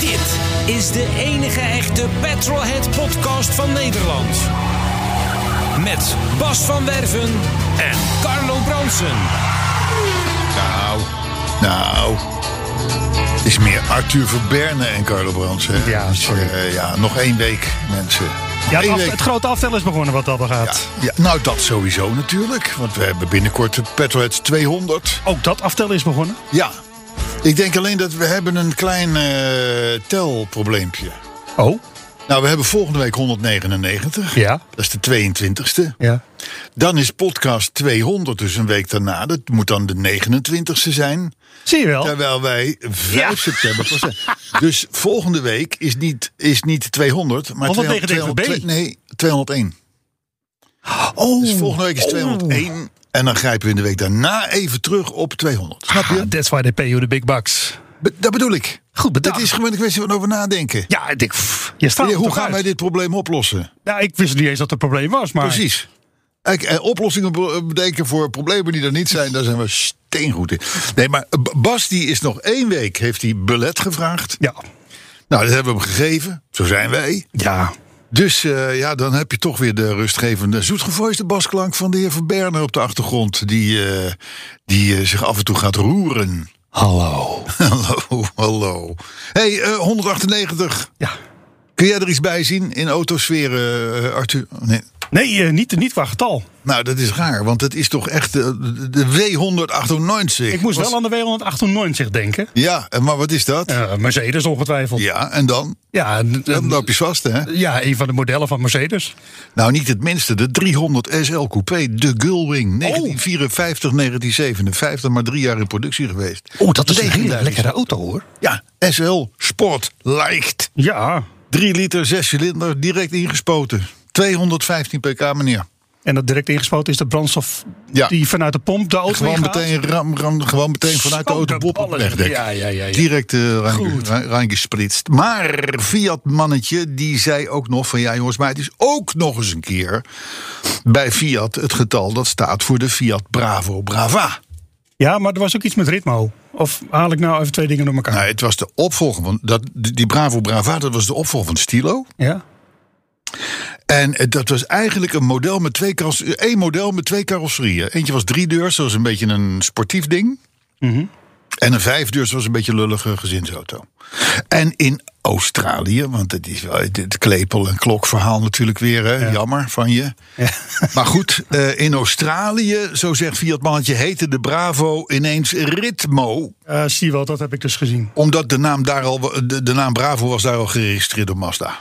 Dit is de enige echte Petrolhead podcast van Nederland. Met Bas van Werven en Carlo Bronsen. Nou, nou. Het is meer Arthur Verberne en Carlo Brands. Hè? Ja, Dus, sorry. eh, ja, nog één week, mensen. Ja, het, Eén af- week. het grote aftel is begonnen wat dat Ja, gaat. ja, nou, dat sowieso natuurlijk. Want we hebben binnenkort de Petroheads 200. Ook dat aftel is begonnen. Ja. Ik denk alleen dat we hebben een klein eh telprobleempje. Oh, Nou, we hebben volgende week 199. Ja. Dat is de 22e. ja. Dan is podcast 200, dus een week daarna. Dat moet dan de 29e zijn. Zie je wel. Terwijl wij 5 september pas zijn. Dus volgende week is niet, is niet 200, maar 200, 200, 199 nee, 201. Oh, Dus volgende week is oh. 201. En dan grijpen we in de week daarna even terug op 200. Snap je? Ah, that's why they pay you the big bucks. Be- dat bedoel ik. Goed bedacht. Het is gewoon een kwestie van over nadenken. Ja, ik denk, pff, je staat er Hoe toch gaan uit? wij dit probleem oplossen? Nou, ik wist niet eens dat het een probleem was, maar... Precies. Kijk, en oplossingen be- bedenken voor problemen die er niet zijn, daar zijn we steengoed in. Nee, maar B- Bas die is nog één week, heeft hij belet gevraagd. Ja. Nou, dat hebben we hem gegeven. Zo zijn wij. Ja. Dus eh, ja, dan heb je toch weer de rustgevende, zoetgevoiste basklank van de heer Verberne op de achtergrond. Die, eh, die eh, zich af en toe gaat roeren. Hallo. hallo, hallo. hey, eh, 198. Ja. Kun jij er iets bij zien in autosfeer, eh, Arthur? Nee. Nee, eh, niet, niet qua getal. Nou, dat is raar, want het is toch echt eh, de, de W198. Ik moest Wat- wel aan de 298 denken. Ja, en maar wat is dat? Ja, Eh, Mercedes ongetwijfeld. en dan? Ja, d- Dan loop je vast, hè? ja, een van de modellen van Mercedes. Nou, niet het minste. De 300 SL Coupé, de Gullwing. 1954, 1957, maar drie jaar in productie geweest. Oh, Dus Legendarisch. auto, hoor. Ja, SL Sport Leicht. Ja. 3 liter, 6 cilinder, direct ingespoten. 215 pk, meneer. En dat direct ingespoten is de brandstof Ja. die vanuit de pomp de auto Gewoon ingaat. meteen, ram, ram, gewoon meteen vanuit de Zo, auto de boppen ballen. wegdek. Ja, ja, ja, ja. Direct eh, rein- rein- reingespritst. Maar Fiat-mannetje, die zei ook nog van... ja jongens, maar het is ook nog eens een keer... bij Fiat het getal dat staat voor de Fiat Bravo Brava. Ja, maar er was ook iets met ritmo. Of haal ik nou even twee dingen door elkaar? Nou, het was de opvolger van... Dat, die Bravo Brava, dat was de opvolger van Stilo. Ja? En eh, dat was eigenlijk een model met twee carrosserieën. Eén model met twee carrosserieën. Eentje was drie deurs, dat was een beetje een sportief ding. En een vijfdeurs was een beetje een lullige gezinsauto. En in Australië, want het is wel het- het klepel- en klokverhaal natuurlijk weer. Hè? Jammer van je. Maar goed, eh, in Australië, zo zegt Fiat Mannetje, heette de Bravo ineens Ritmo. Eh, zie je wel, dat heb ik dus gezien. Omdat de naam, daar al, de, de naam Bravo was daar al geregistreerd door Mazda.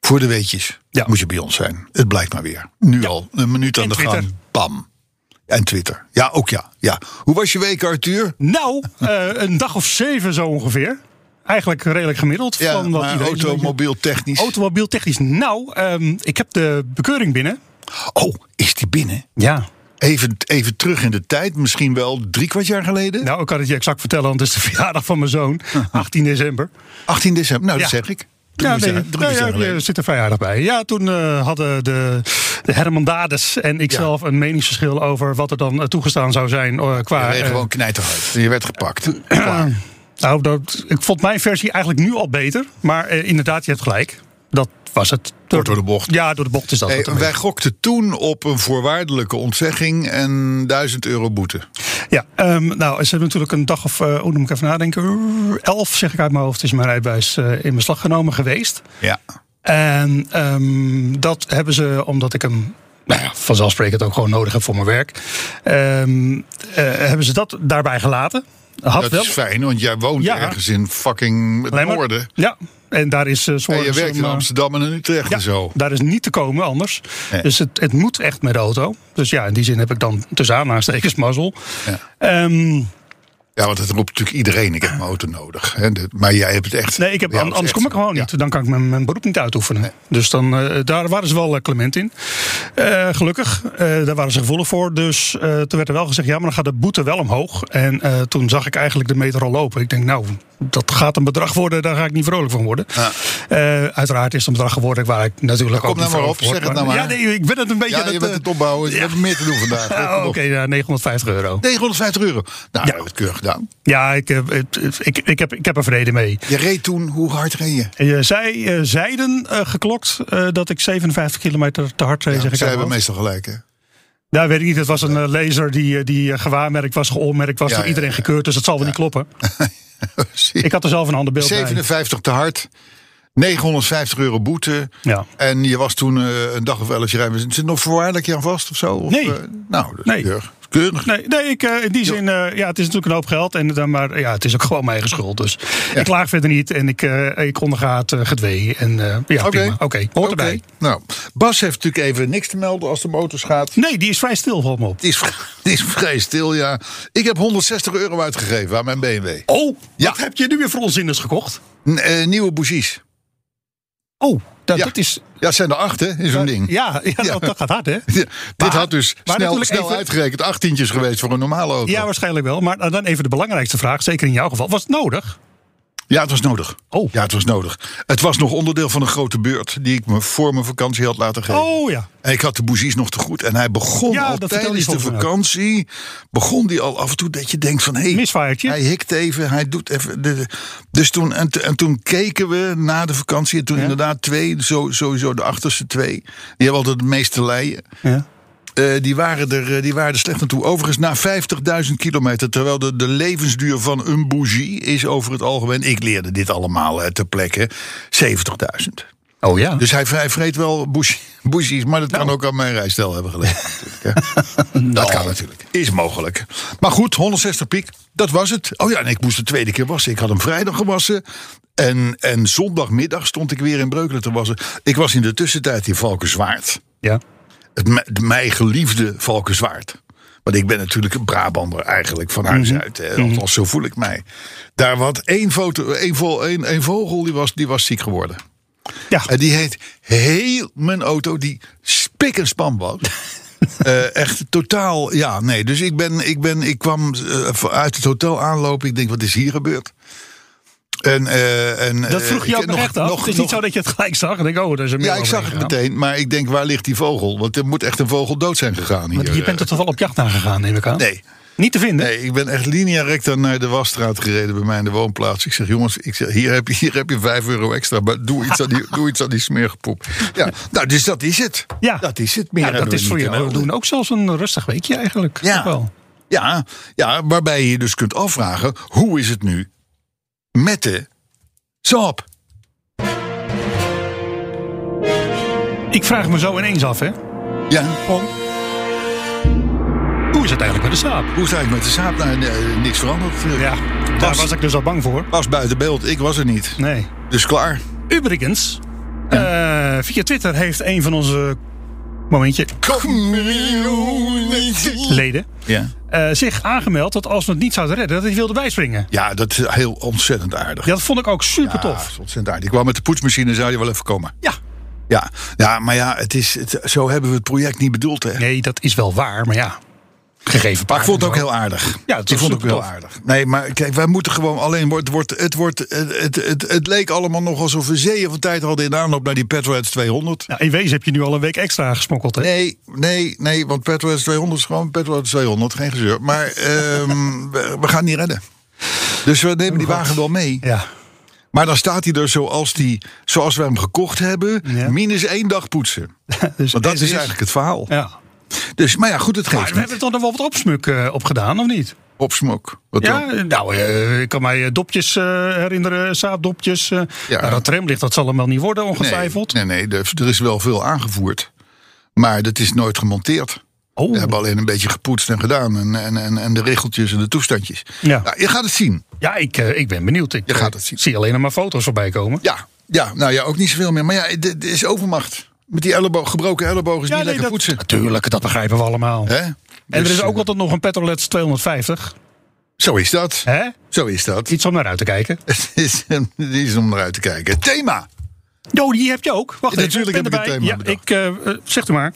Voor de weetjes Ja. moet je bij ons zijn. Het blijkt maar weer. Nu al, een minuut aan En de gang. Twitter. Bam. En Twitter. Ja, ook ja, ja. Hoe was je week, Arthur? Nou, eh, een dag of zeven zo ongeveer. Eigenlijk redelijk gemiddeld. Ja, van wat maar iedereen een beetje- automobiel technisch. Automobiel technisch. Nou, ehm, ik heb de bekeuring binnen. Oh, is die binnen? Ja. Even, even terug in de tijd, misschien wel drie kwart jaar geleden. Nou, ik kan het je exact vertellen, want het is de verjaardag van mijn zoon. 18 december. 18 december, nou dat Ja. zeg ik. Drie Ja, kwart nee, jaar- drie kwart nee, jaar ja, geleden. er zit een verjaardag bij. Ja, toen eh, hadden de, de Hermandades en ikzelf een meningsverschil over wat er dan eh, toegestaan zou zijn eh, Je qua... reed eh, gewoon knijterhard. Je werd gepakt. Klaar. nou, dat, ik vond mijn versie eigenlijk nu al beter. Maar eh, inderdaad, je hebt gelijk. Dat was het. Kort door de bocht. Ja, door de bocht is dat. Hey, het een wij gokten toen op een voorwaardelijke ontzegging en 1000 euro boete. beetje. Ja, ehm, nou, ze hebben natuurlijk een dag of... eh oh, dan moet ik even nadenken. Elf, zeg ik uit mijn hoofd, is mijn rijbewijs eh, in beslag genomen geweest. Ja. En ehm, dat hebben ze omdat ik hem. Nou ja, vanzelfsprekend ook gewoon nodig heb voor mijn werk. ehm, eh, hebben ze dat daarbij gelaten? Had dat wel. is fijn, want jij woont Ja. ergens in fucking het Alleen maar- noorden. Ja, en daar is eh, 's En je morgens werkt om, in eh, Amsterdam en in Utrecht Ja, en zo. Oh. daar is niet te komen anders. Nee. Dus het, het moet echt met de auto. Dus ja, in die zin heb ik dan tussen aanhalingstekens mazzel. Ehm, Ja, want het roept natuurlijk iedereen, ik heb mijn auto nodig. Hè? Dit- Maar jij hebt het echt... nee, ik heb, bij jou an- is anders het kom ik echt gewoon zo. niet. Dan kan ik mijn, mijn beroep niet uitoefenen. Dus dan, eh, daar waren ze wel eh, clement in. Eh, gelukkig, eh, daar waren ze gevoelig voor. Dus eh, toen werd er wel gezegd, ja, maar dan gaat de boete wel omhoog. En eh, toen zag ik eigenlijk de meter al lopen. Ik denk, nou, dat gaat een bedrag worden, daar ga ik niet vrolijk van worden. Ja. Eh, uiteraard is het een bedrag geworden waar ik natuurlijk Kom ook niet nou maar vrolijk op, voor word. zeg het nou maar. Ja, nee, ik ben het een beetje... Ja, aan je het, bent eh, het opbouwen, je ja. hebt meer te doen vandaag. Ah, Oké, ja, 950 euro. 950 euro. Nou, dat heb ik keurig gedaan. Ja, ik, eh, het- ik, ik, heb, ik heb er vrede mee. Je reed toen, hoe hard reed je? Eh, Zij eh, zeiden eh, geklokt eh, dat ik 57 kilometer te hard reed. zeg ik Zij uit hebben mijn hoofd. meestal gelijk, hè? Daar weet ik niet. Het was een eh, laser die, eh, die eh, gewaarmerkt was, geoormerkt was Ja, door ja, iedereen ja. gekeurd. Dus dat zal wel niet kloppen. Ik had er zelf een ander beeld bij. 57 te hard, 950 euro boete. Ja. En je was toen eh, een dag of elf rijden. Zit er nog voorwaardelijk je aan vast of zo? Of, Nee. eh, nou, dat is Nee. keurig. Keurig. Nee, nee ik, eh, in die zin, eh, ja, het is natuurlijk een hoop geld. En, dan maar ja, het is ook gewoon mijn eigen schuld. Dus ik klaag verder niet en ik, eh ik onderga het eh, gedwee. En eh, ja, Oké. prima. Oké, hoort Oké. erbij. Nou, Bas heeft natuurlijk even niks te melden als de motors gaat. Nee, die is vrij stil, valt me op. Het is, het is vrij stil, ja. Ik heb 160 euro uitgegeven aan mijn BMW. Oh, Ja. wat heb je nu weer voor onzinners gekocht? N- eh, nieuwe bougies. Oh, dat, Ja. dat is. Ja, het zijn er acht, hè, in zo'n ding. Ja, ja, Dat, dat gaat hard, hè? Ja, Maar- dit had dus maar snel, natuurlijk snel even- uitgerekend 18 geweest voor een normale auto. Ja, Ja, waarschijnlijk wel. Maar eh, dan even de belangrijkste vraag, zeker in jouw geval. Was het nodig? het was nodig. Oh. Ja, het was nodig. Het was nog onderdeel van een grote beurt die ik me voor mijn vakantie had laten geven. Oh ja. En ik had de bougies nog te goed. En hij begon Ja, al dat vertelde tijdens je de volgens mij ook. vakantie... begon die al af en toe dat je denkt van... Hey, Misfiretje. Hij hikt even, hij doet even... de- de- dus toen, en, t- en toen keken we na de vakantie... en toen inderdaad twee, zo, sowieso de achterste twee... die hebben altijd de meeste leien... ja. eh, die, waren er, eh, die waren er slecht aan toe. Overigens na 50.000 kilometer... terwijl de, de levensduur van een bougie is over het algemeen... ik leerde dit allemaal eh, ter plekke, 70.000. Oh ja. Dus hij, hij vreet wel boes- boesies, maar dat kan ook aan mijn rijstijl hebben gelegen. natuurlijk, hè. Dat kan natuurlijk. Is mogelijk. Maar goed, 160 piek, dat was het. Oh ja, en ik moest de tweede keer wassen. Ik had hem vrijdag gewassen. En, en zondagmiddag stond ik weer in Breukelen te wassen. Ik was in de tussentijd in Valkenswaard. ja. Het, me- de mij geliefde Valkenswaard. Want ik ben natuurlijk een Brabander eigenlijk van huis uit. hè. Althans, zo voel ik mij. Daar wat één, foto, één, vo- één, één vogel die was, die was ziek geworden. Ja. En die heet heel mijn auto, die spik en span was. Eh, echt totaal, ja, nee. Dus ik, ben, ik, ben, ik kwam eh, uit het hotel aanlopen. Ik denk, wat is hier gebeurd? En, eh, en, Dat eh, vroeg je ik- ook nog echt af. het is niet zo dat je het gelijk zag. En denk, oh, daar is een Ja, mail ik zag het overheen gegaan. meteen. Maar ik denk, waar ligt die vogel? Want er moet echt een vogel dood zijn gegaan hier. Want je bent er toch wel op jacht naar gegaan, neem ik aan? Nee. Niet te vinden? Nee, ik ben echt linea recta naar de wasstraat gereden bij mij in de woonplaats. Ik zeg, jongens, ik zeg, hier, heb je, hier heb je 5 euro extra, maar doe iets aan die, doe iets aan die smeergepoep. Ja, nou, dus dat is het. Ja. Dat is het. Meer Ja, dat hebben we is voor niet jou te melden. doen ook zelfs een rustig weekje eigenlijk. Ja. Toch Wel. Ja, ja, waarbij je je dus kunt afvragen, hoe is het nu met de Saab? Ik vraag me zo ineens af, hè. Ja, Hoe is het eigenlijk met de saap? hoe is het eigenlijk met de Saab? Nou, eh, niks veranderd. Ja, daar Was- was ik dus al bang voor. Was buiten beeld, ik was er niet. Nee. Dus klaar. Übrigens, eh, via Twitter heeft een van onze momentje, leden Ja. eh, zich aangemeld dat als we het niet zouden redden, dat hij wilde bijspringen. ja, dat is heel ontzettend aardig. Dat vond ik ook super Ja, dat tof. is ontzettend aardig. Ik wou met de poetsmachine, zou je wel even komen. Ja. Ja, ja maar ja, het is, het, zo hebben we het project niet bedoeld. Hè? Nee, dat is wel waar, maar ja. Gegeven Maar paard. ik vond het ook heel aardig. Ja, het ik was vond het ook heel supertof. aardig. Nee, maar kijk, wij moeten gewoon alleen. wordt- wordt- Het, wordt, het, het, het, het leek allemaal nog alsof we zeeën van tijd hadden in de aanloop naar die Petroheads 200. Ja, in wezen heb je nu al een week extra gesmokkeld, hè? Nee, nee, nee, want Petroheads 200 is gewoon Petroheads 200, geen gezeur. Maar ehm, we, we gaan het niet redden. Dus we nemen die wagen wel mee. Oh, Ja. Maar dan staat hij er zoals, die, zoals we hem gekocht hebben, Ja. minus één dag poetsen. Dus Want dat is deze eigenlijk het verhaal. Ja. Dus, maar ja, goed, het Maar geeft we niet. hebben toch nog wel wat opsmuk eh, op gedaan, of niet? Op smok. Wat dan? Ja, nou, eh, ik kan mij eh, dopjes eh, herinneren, saapdopjes. eh. Ja. Nou, dat tramlicht, dat zal hem wel niet worden, Nee, ongetwijfeld. nee, nee, er, er is wel veel aangevoerd. Maar dat is nooit gemonteerd. Oh. We hebben alleen een beetje gepoetst en gedaan. En, en, en, en de regeltjes en de toestandjes. Ja. Nou, je gaat het zien. Ja, ik, eh, ik ben benieuwd. Ik Je eh, gaat het zien. zie alleen nog maar foto's voorbij komen. Ja, ja nou ja, ook niet zoveel meer. Maar ja, dit dit is overmacht. Met die elleboog, gebroken elleboog is Ja, niet nee, lekker dat- poetsen. Tuurlijk, dat begrijpen we allemaal. Hè? En er Dus, is ook eh, altijd nog een Petrolets 250. Zo is dat. Hè? Zo is dat. Iets om naar uit te kijken. Het is, een- het is om eruit te kijken. Thema. Jo, die heb je ook. Wacht Ja, even, natuurlijk heb ben ik erbij. een thema Ja, ik, eh, eh, zeg het maar.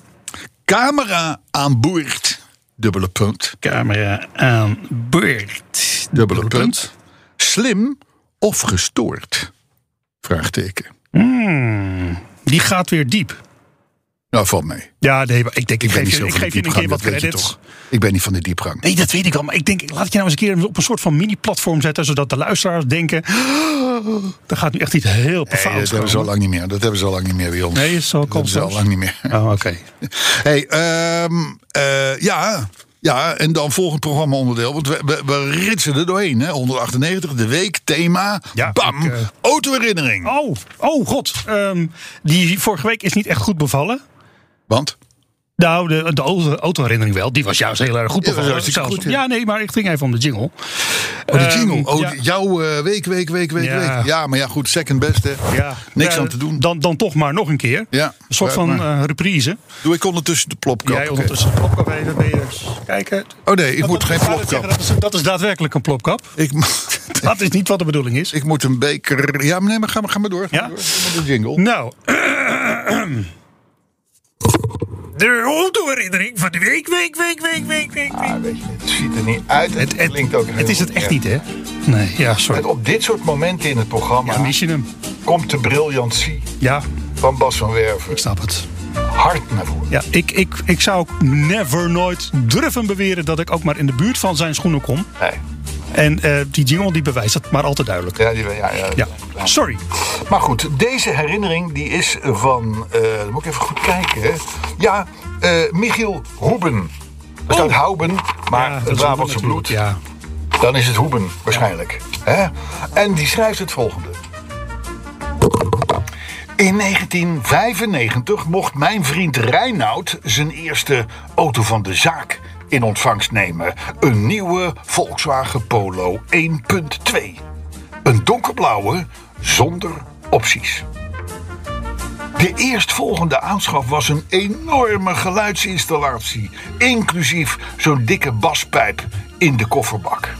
Camera aan boord. Dubbele punt. Camera aan beurt. Dubbele punt. Slim of gestoord? Vraagteken. Hmm, Die gaat weer diep. Nou, valt mee. Ja, nee, maar ik denk, ik, Ik ben niet geef zo je, ik van de geef je een diepgang, keer wat dat weet je credits. toch. Ik ben niet van de diepgang. Nee, dat weet ik al. Maar ik denk, laat ik je nou eens een keer op een soort van mini-platform zetten. Zodat de luisteraars denken: er gaat nu echt iets heel Nee, eh, fout dat hebben ze al komen. lang niet meer. Dat hebben ze al lang niet meer bij ons. Nee, is zo dat komt hebben ze al lang niet meer. Oh, oké. Hey, ehm, eh, ja, ja, en dan volgend programma onderdeel. Want we, we, we ritsen er doorheen. Hè? 198, de week, thema, Ja, bam, ik, eh, autoherinnering. Oh, oh god. Ehm, die vorige week is niet echt goed bevallen. Want? Nou, de, de auto- autoherinnering wel. Die was juist heel erg goed Ja, dat was bevallen. hartstikke Zelfs- goed, ja. ja, nee, maar ik ging even om de jingle. Oh, de Ehm, jingle. oh, ja. die- jouw eh, week, week, week, week, Ja. week. Ja, maar ja, goed, second best, hè. Ja. Niks Ja, aan te doen. Eh, Dan, dan toch maar nog een keer. Ja, Een soort maar- van eh, reprise. Doe ik ondertussen de plopkap. Jij Oké. ondertussen een plopkap even ben je kijken. Oh nee, ik moet geen ik wou net zeggen, plopkap. Dat is, dat is daadwerkelijk een plopkap. Ik, Dat is niet wat de bedoeling is. ik moet een beker... Ja, maar nee, maar ga maar, ga maar door. Ga Ja? maar door. Doe maar De jingle. Nou. De autoherinnering van de week, week, week, week, week, week. week. Ah, weet je, het ziet er niet uit. Het, klinkt ook Het is het echt niet, hè? Nee, ja, sorry. Op dit soort momenten in het programma Ja, mis je hem? komt de briljantie Ja, van Bas van Werven ik snap het. hard naar voren. Ja, ik, ik, ik zou ook never nooit durven beweren dat ik ook maar in de buurt van zijn schoenen kom. Nee. En eh, die jingle die bewijst dat maar al te duidelijk. Ja, die, ja, ja, Ja, sorry. Maar goed, deze herinnering die is van... eh, dan moet ik even goed kijken. hè. Ja, eh, Michiel Hoeben. Er staat Houben, maar Oh. Ja, dat het is Brabantse natuurlijk, bloed. Ja. Dan is het Hoeben waarschijnlijk. Hè? En die schrijft het volgende. In 1995 mocht mijn vriend Reinoud zijn eerste auto van de zaak in ontvangst nemen. Een nieuwe Volkswagen Polo 1.2. Een donkerblauwe zonder opties. De eerstvolgende aanschaf was een enorme geluidsinstallatie, inclusief zo'n dikke baspijp in de kofferbak.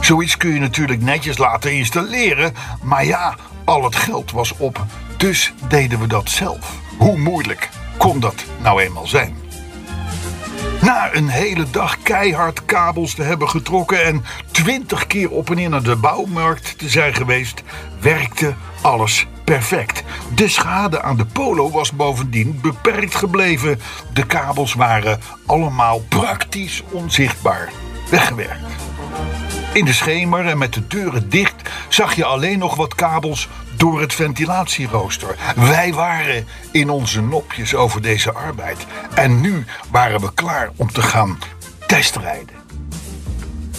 Zoiets kun je natuurlijk netjes laten installeren, maar ja, al het geld was op, dus deden we dat zelf. Hoe moeilijk kon dat nou eenmaal zijn? Na een hele dag keihard kabels te hebben getrokken en twintig keer op en neer naar de bouwmarkt te zijn geweest, werkte alles perfect. De schade aan de polo was bovendien beperkt gebleven. De kabels waren allemaal praktisch onzichtbaar weggewerkt. In de schemer en met de deuren dicht zag je alleen nog wat kabels door het ventilatierooster. Wij waren in onze nopjes over deze arbeid. En nu waren we klaar om te gaan testrijden.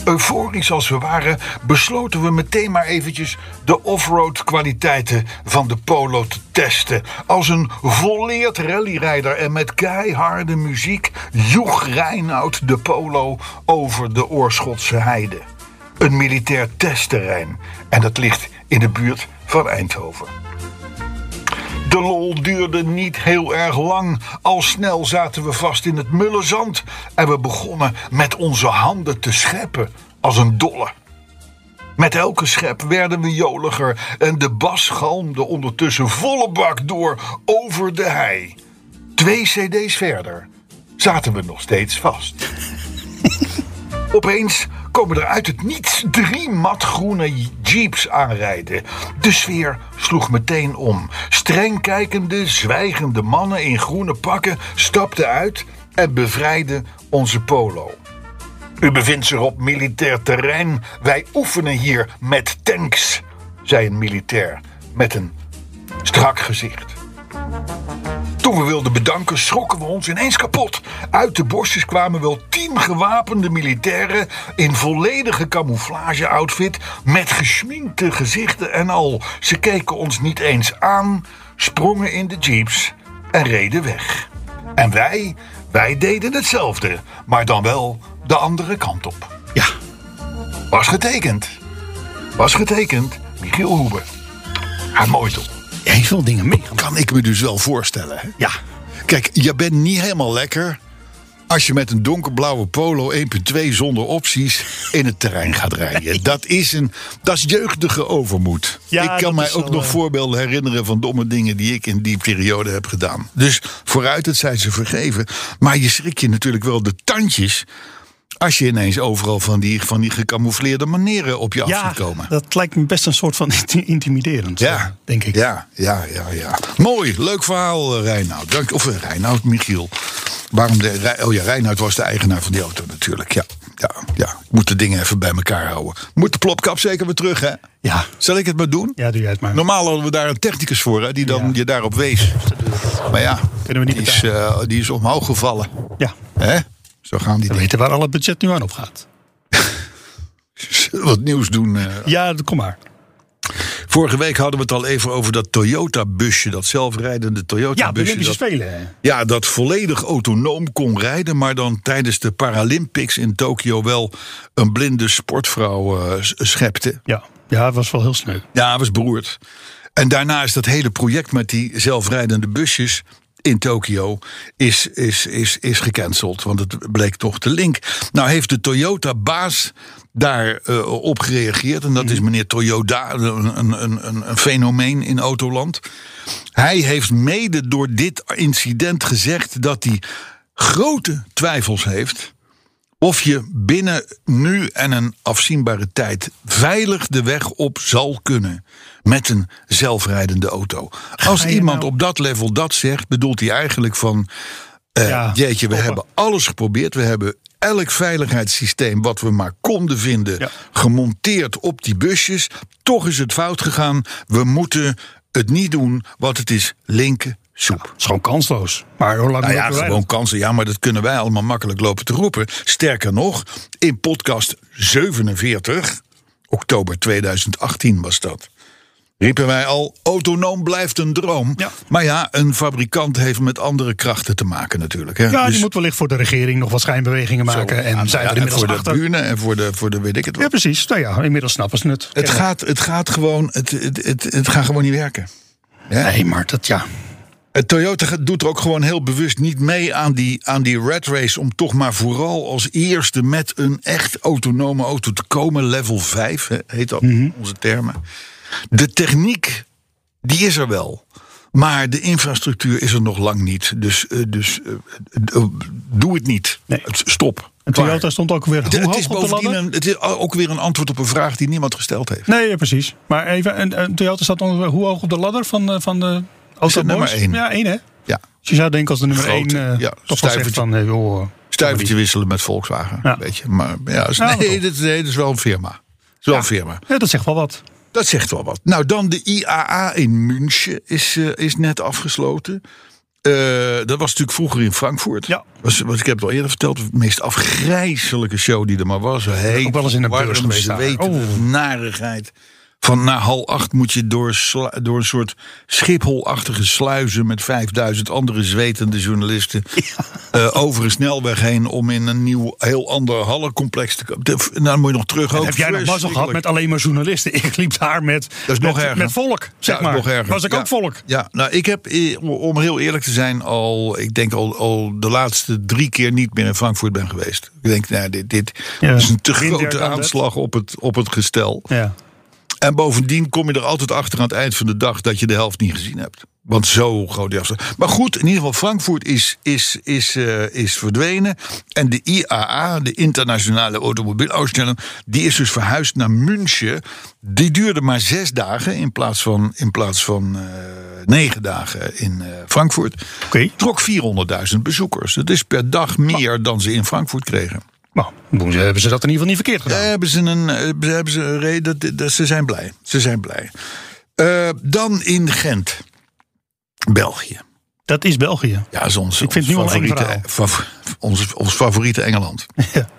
Euforisch als we waren, besloten we meteen maar eventjes de offroad kwaliteiten van de Polo te testen. Als een volleerd rallyrijder en met keiharde muziek joeg Reinoud de Polo over de Oorschotse heide. Een militair testterrein en dat ligt in de buurt van Eindhoven. De lol duurde niet heel erg lang. Al snel zaten we vast in het mulle zand en we begonnen met onze handen te scheppen als een dolle. Met elke schep werden we joliger en de bas galmde ondertussen volle bak door over de hei. Twee cd's verder zaten we nog steeds vast. Opeens komen er uit het niets drie matgroene jeeps aanrijden. De sfeer sloeg meteen om. Streng kijkende, zwijgende mannen in groene pakken stapten uit en bevrijden onze polo. U bevindt zich op militair terrein. Wij oefenen hier met tanks, zei een militair met een strak gezicht. Toen we wilden bedanken, schrokken we ons ineens kapot. Uit de bosjes kwamen wel tien gewapende militairen in volledige camouflage-outfit met geschminkte gezichten en al. Ze keken ons niet eens aan, sprongen in de jeeps en reden weg. En wij, Wij deden hetzelfde, maar dan wel de andere kant op. Ja, Was getekend. Was getekend. Michiel Hoebe. Haar mooi toch? heel veel dingen mee. Kan ik me dus wel voorstellen. Hè? Ja, Kijk, je bent niet helemaal lekker als je met een donkerblauwe polo 1.2 zonder opties in het terrein gaat rijden. Dat is, een, dat is jeugdige overmoed. Ja, ik dat kan mij is ook wel, nog eh, voorbeelden herinneren van domme dingen die ik in die periode heb gedaan. Dus vooruit, het zijn ze vergeven. Maar je schrik je natuurlijk wel de tandjes als je ineens overal van die, van die gecamoufleerde manieren op je af ja ziet komen. dat lijkt me best een soort van intimiderend, eh, Ja, denk ik. Ja, ja, ja, ja. Mooi, leuk verhaal, eh, Reinoud. Dank, of eh, Reinoud, Michiel. Waarom de, Re- oh ja, Reinoud was de eigenaar van die auto natuurlijk. Ja, ja, ja. Ik moet de dingen even bij elkaar houden. Moet de plopkap zeker weer terug, hè? Ja. Zal ik het maar doen? Ja, doe jij het maar. Normaal hadden we daar een technicus voor, hè, die dan Ja. je daarop wees. Maar ja, Kunnen we niet die, is, eh, die is omhoog gevallen. Ja, Hè? Zo gaan die we dingen. weten waar al het budget nu aan op gaat. Zullen we Wat nieuws doen. eh, Ja, kom maar. Vorige week hadden we het al even over dat Toyota-busje. Dat zelfrijdende Ja, de Toyota-busje. Olympische dat- Spelen. Ja, dat volledig autonoom kon rijden, maar dan tijdens de Paralympics in Tokio wel een blinde sportvrouw eh, s- schepte. Ja, ja het was wel heel sneu. Ja, was beroerd. En daarna is dat hele project met die zelfrijdende busjes in Tokio is, is, is, is gecanceld. Want het bleek toch de link. Nou heeft de Toyota-baas daar eh, op gereageerd. En dat is meneer Toyoda, een, een, een, een fenomeen in Autoland. Hij heeft mede door dit incident gezegd dat hij grote twijfels heeft of je binnen nu en een afzienbare tijd veilig de weg op zal kunnen met een zelfrijdende auto. Als je iemand nou- op dat level dat zegt, bedoelt hij eigenlijk van eh, Ja, jeetje, we hoppa. hebben alles geprobeerd, we hebben elk veiligheidssysteem wat we maar konden vinden Ja. gemonteerd op die busjes. Toch is het fout gegaan. We moeten het niet doen, want het is linker soep. Het is gewoon kansloos. Maar hoe lang Nou ja, lopen wij gewoon kansen. Ja, maar dat kunnen wij allemaal makkelijk lopen te roepen. Sterker nog, in podcast 47, oktober 2018 was dat. Riepen wij al, autonoom blijft een droom. Ja. Maar ja, een fabrikant heeft met andere krachten te maken natuurlijk. Hè? dan? Ja, Dus Nou die moet wellicht voor de regering nog wat schijnbewegingen maken. en ja, zijn we en er inmiddels voor achter. de buren en voor de, voor de weet ik het wat. Ja, precies. Nou ja, inmiddels snappen ze het. Het gaat, het gaat gewoon, het, het, het, het gaat gewoon niet werken. Ja? Nee, maar dat ja. Het Eh, Toyota gaat- doet er ook gewoon heel bewust niet mee aan die, aan die red race. Om toch maar vooral als eerste met een echt autonome auto te komen. Level 5 hè, heet dat, Mhm. in onze termen. De techniek, die is er wel. Maar de infrastructuur is er nog lang niet. Dus, eh, dus eh, eh, doe het niet. Nee. Het- Stop. En Klaar. Toyota stond ook weer Het- hoe het hoog is op de bovendien ladder? een, het is ook weer een antwoord op een vraag die niemand gesteld heeft. Nee, ja, precies. Maar even, en, en Toyota staat ongeveer hoe hoog op de ladder van, eh, van de auto nummer één? Ja, één hè? Ja. Dus je zou denken als de nummer één Grote, eh ja, toch wel zegt stuivertje. van... eh, joh, Stuivertje wisselen met Volkswagen. Ja. Een beetje. Maar ja, dat is- Ja, nee, toch. dat, nee, dat is wel een firma. Dat is wel een firma. ja, dat zegt wel wat. Dat zegt wel wat. Nou, dan de IAA in München is, eh, is net afgesloten. Eh, dat was natuurlijk vroeger in Frankfurt. Ja. Was, was, ik heb het al eerder verteld. De meest afgrijzelijke show die er maar was. Heet, Ook wel eens in de beurs warm, geweest daar. zweterig, Oh. narigheid. Van na hal 8 moet je door, sla- door een soort schipholachtige sluizen met 5000 andere zwetende journalisten eh, over een snelweg heen om in een nieuw, heel ander hallencomplex te komen. De- Nou, dan moet je nog terug over. Heb jij nog mazzel gehad met alleen maar journalisten? Ik liep daar met, Dat is nog met, erger. met volk, zeg Ja, maar. nog erger. Was ik Ja. ook volk? Ja, nou, ik heb, eh, om- om heel eerlijk te zijn, al, ik denk al, al de laatste drie keer niet meer in Frankfurt ben geweest. Ik denk, nou, dit, dit Ja. is een te Minder grote dan dat. aanslag op het, op het gestel. Ja. En bovendien kom je er altijd achter aan het eind van de dag dat je de helft niet gezien hebt. Want zo groot die afstand. Maar goed, in ieder geval, Frankfurt is, is, is, eh, is verdwenen. En de IAA, de Internationale Automobieluitstelling, die is dus verhuisd naar München. Die duurde maar zes dagen in plaats van, in plaats van eh, negen dagen in eh, Frankfurt. Oké. Trok 400.000 bezoekers. Dat is per dag meer dan ze in Frankfurt kregen. Nou, doen ze- hebben ze dat in ieder geval niet verkeerd gedaan. Daar hebben ze een, eh, hebben ze een reden. dat- dat- Ze zijn blij. Ze zijn blij. Eh, dan in Gent. België. dat is België. Ja, is ons, Ik ons vind het nu al een favoriete, favor- ons, ons favoriete Engeland. Ja.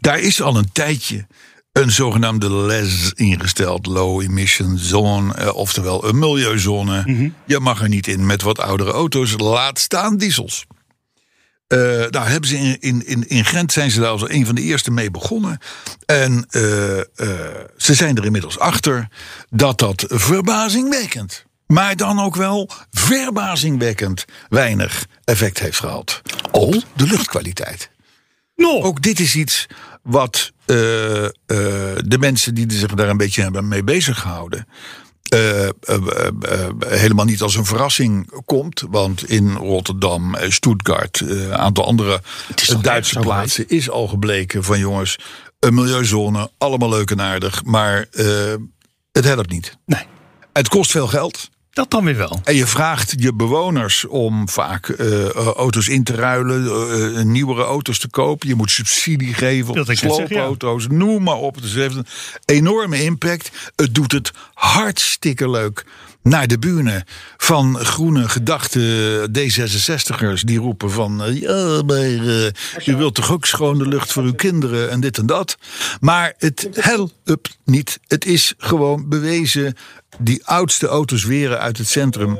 Daar is al een tijdje een zogenaamde LES ingesteld. Low Emission Zone, eh, oftewel een Mhm. milieuzone. Je mag er niet in met wat oudere auto's. Laat staan diesels. Eh, nou, hebben ze in, in, in, in Gent zijn ze daar als een van de eerste mee begonnen. En eh, eh, ze zijn er inmiddels achter dat dat verbazingwekkend, maar dan ook wel verbazingwekkend weinig effect heeft gehad op de luchtkwaliteit. Nou, Ook dit is iets wat eh, eh, de mensen die zich daar een beetje hebben mee bezig gehouden. eh, eh, eh, eh, helemaal niet als een verrassing komt. Want in Rotterdam, eh, Stuttgart, eh, een aantal andere toch Duitse erg zo plaatsen is al gebleken van jongens. Een milieuzone, allemaal leuk en aardig. Maar eh, het helpt niet. nee, Het kost veel geld. dat dan weer wel. En je vraagt je bewoners om vaak eh, eh, auto's in te ruilen, eh, eh, nieuwere auto's te kopen. Je moet subsidie geven Dat op ik net zeg, ja. sloopauto's, noem maar op. Dus het heeft een enorme impact. Het doet het hartstikke leuk naar de bühne van groene gedachten D66'ers. Die roepen van, eh, ja, maar eh, u wilt toch ook schone lucht voor uw kinderen en dit en dat. Maar het helpt niet. Het is gewoon bewezen, die oudste auto's weren uit het centrum...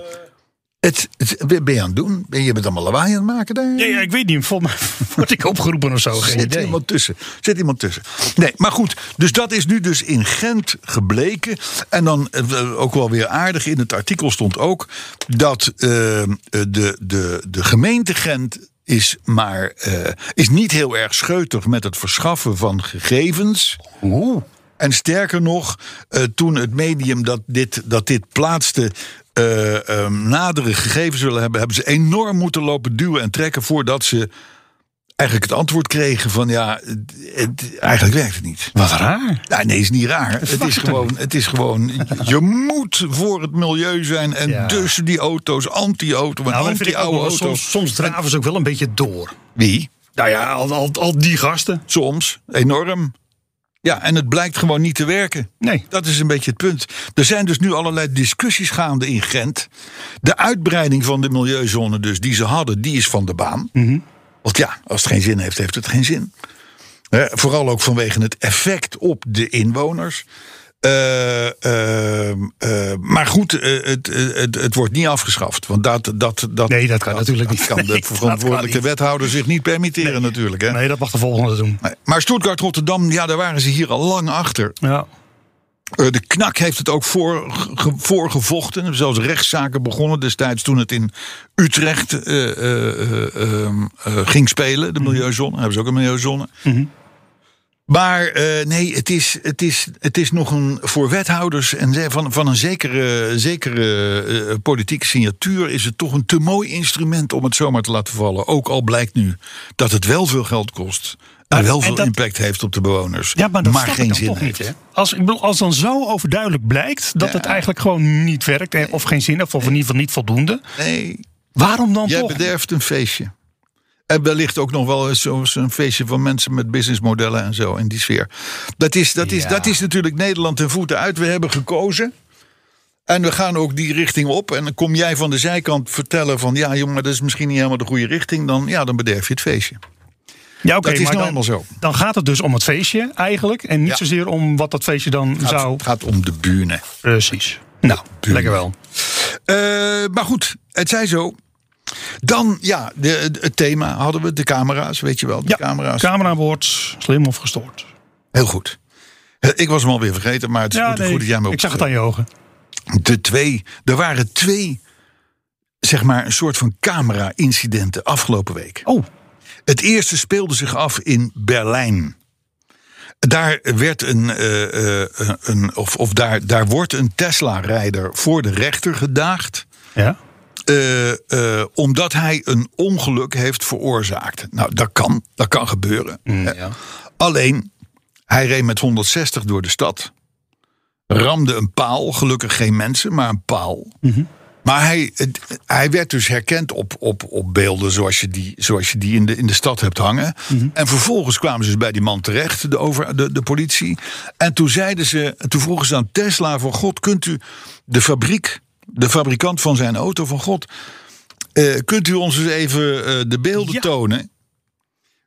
Het, het- wat ben je aan het doen? Ben je bent allemaal lawaai aan het maken daar? Ja, ja, ik weet niet, volgens mij word ik opgeroepen of zo. Geen Zit idee. iemand tussen. Zit iemand tussen. Nee, maar goed. Dus dat is nu dus in Gent gebleken. En dan eh, ook wel weer aardig. In het artikel stond ook dat eh, eh, de, de, de gemeente Gent. Is, maar, eh, is niet heel erg scheutig met het verschaffen van gegevens. En sterker nog, eh, toen het medium dat dit, dat dit plaatste. eh, eh, nadere gegevens willen hebben, hebben ze enorm moeten lopen duwen en trekken voordat ze eigenlijk het antwoord kregen van ja, het, het- eigenlijk werkt het niet. Wat raar. Nou, nee, is niet raar. Het is, gewoon, het is gewoon, je moet voor het milieu zijn en Ja. dus die auto's, anti-auto en Nou, dat vind ik ook anti-oude wel. auto's. Soms, soms draven ze ook wel een beetje door. Wie? Nou ja, al, al, al die gasten. Soms, enorm. Ja, en het blijkt gewoon niet te werken. Nee. Dat is een beetje het punt. Er zijn dus nu allerlei discussies gaande in Gent. De uitbreiding van de milieuzone dus die ze hadden, die is van de baan. Mhm. Want ja, als het geen zin heeft, heeft het geen zin. Hè, vooral ook vanwege het effect op de inwoners. Eh, ehm, eh, maar goed, eh, het, eh, het, het wordt niet afgeschaft. Want dat, dat, dat, Nee, dat kan natuurlijk niet. kan Nee, de dat verantwoordelijke kan niet. wethouder zich niet permitteren natuurlijk. Hè? Nee, dat mag de volgende doen. Nee. Maar Stuttgart, Rotterdam, ja, daar waren ze hier al lang achter. Ja. Eh, de knak heeft het ook voor, ge- voorgevochten. Er zijn zelfs rechtszaken begonnen destijds toen het in Utrecht eh, eh, eh, ehm, eh, ging spelen. De Mhm. milieuzone. Hebben ze ook een milieuzone. Maar eh, nee, het is, het, is, het is nog een voor wethouders en ze- van, van een zekere, zekere eh, politieke signatuur is het toch een te mooi instrument om het zomaar te laten vallen. Ook al blijkt nu dat het wel veel geld kost. En Maar- wel en veel dat- impact heeft op de bewoners. Ja, maar dat snap geen ik dan zin toch niet. heeft. Hè? Als, ik bedoel, als dan zo overduidelijk blijkt dat Ja. het eigenlijk gewoon niet werkt... hè, of geen zin heeft, of in ieder geval niet voldoende... Nee, waarom dan Jij toch? bederft een feestje. En wellicht ook nog wel eens zo- zo'n feestje van mensen met businessmodellen en zo in die sfeer. Dat is, dat is, Ja. dat is natuurlijk Nederland ten voeten uit. We hebben gekozen. En we gaan ook die richting op. En dan kom jij van de zijkant vertellen van... ja jongen, maar dat is misschien niet helemaal de goede richting. Dan, ja, dan bederf je het feestje. Ja, oké, dat is maar nou dan, eenmaal zo. Dan gaat het dus om het feestje eigenlijk. En niet Ja. zozeer om wat dat feestje dan Het gaat- zou... Het gaat om de bühne. Precies. Nou, lekker wel. Eh, maar goed, het zij zo. Dan, ja, de, de- het thema hadden we. De camera's, weet je wel. De Ja, camera's. camera aan boord, slim of gestoord. Heel goed. Eh, Ik was hem alweer vergeten, maar het is goed, goed dat jij me ik zag het opgeschreven aan je ogen. de twee, er waren twee, zeg maar, een soort van camera-incidenten afgelopen week. Oh, Het eerste speelde zich af in Berlijn. Daar werd een, eh, eh, een of, of daar, daar wordt een Tesla-rijder voor de rechter gedaagd. ja. eh, eh, omdat hij een ongeluk heeft veroorzaakt. Nou, dat kan, dat kan gebeuren. ja. Alleen, hij reed met 160 door de stad. Ramde een paal, gelukkig geen mensen, maar een paal. Mhm. Maar hij, het- hij werd dus herkend op, op, op beelden zoals je die, zoals je die in, de, in de stad hebt hangen. Mhm. En vervolgens kwamen ze dus bij die man terecht, de, over, de, de politie. En toen, zeiden ze, toen vroegen ze aan Tesla van God, kunt u de fabriek, de fabrikant van zijn auto van God... eh, kunt u ons eens even eh, de beelden Ja. tonen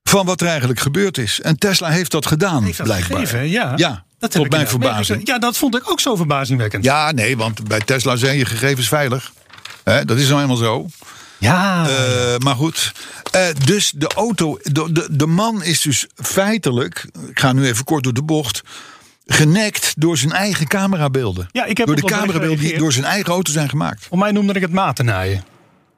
van wat er eigenlijk gebeurd is. En Tesla heeft dat gedaan, Heeft dat blijkbaar. gegeven, ja. Ja, heb tot ik mijn inderdaad verbazing. meegekregen. Ja, dat vond ik ook zo verbazingwekkend. Ja, nee, want bij Tesla zijn je gegevens veilig. Hè, dat is nou helemaal zo. Ja. Eh, maar goed. Eh, dus de auto, de, de, de man is dus feitelijk, ik ga nu even kort door de bocht, genekt door zijn eigen camerabeelden. Ja, ik heb door de ook wel camerabeelden die gereageerd. door zijn eigen auto zijn gemaakt. Voor mij noemde ik het matennaaien.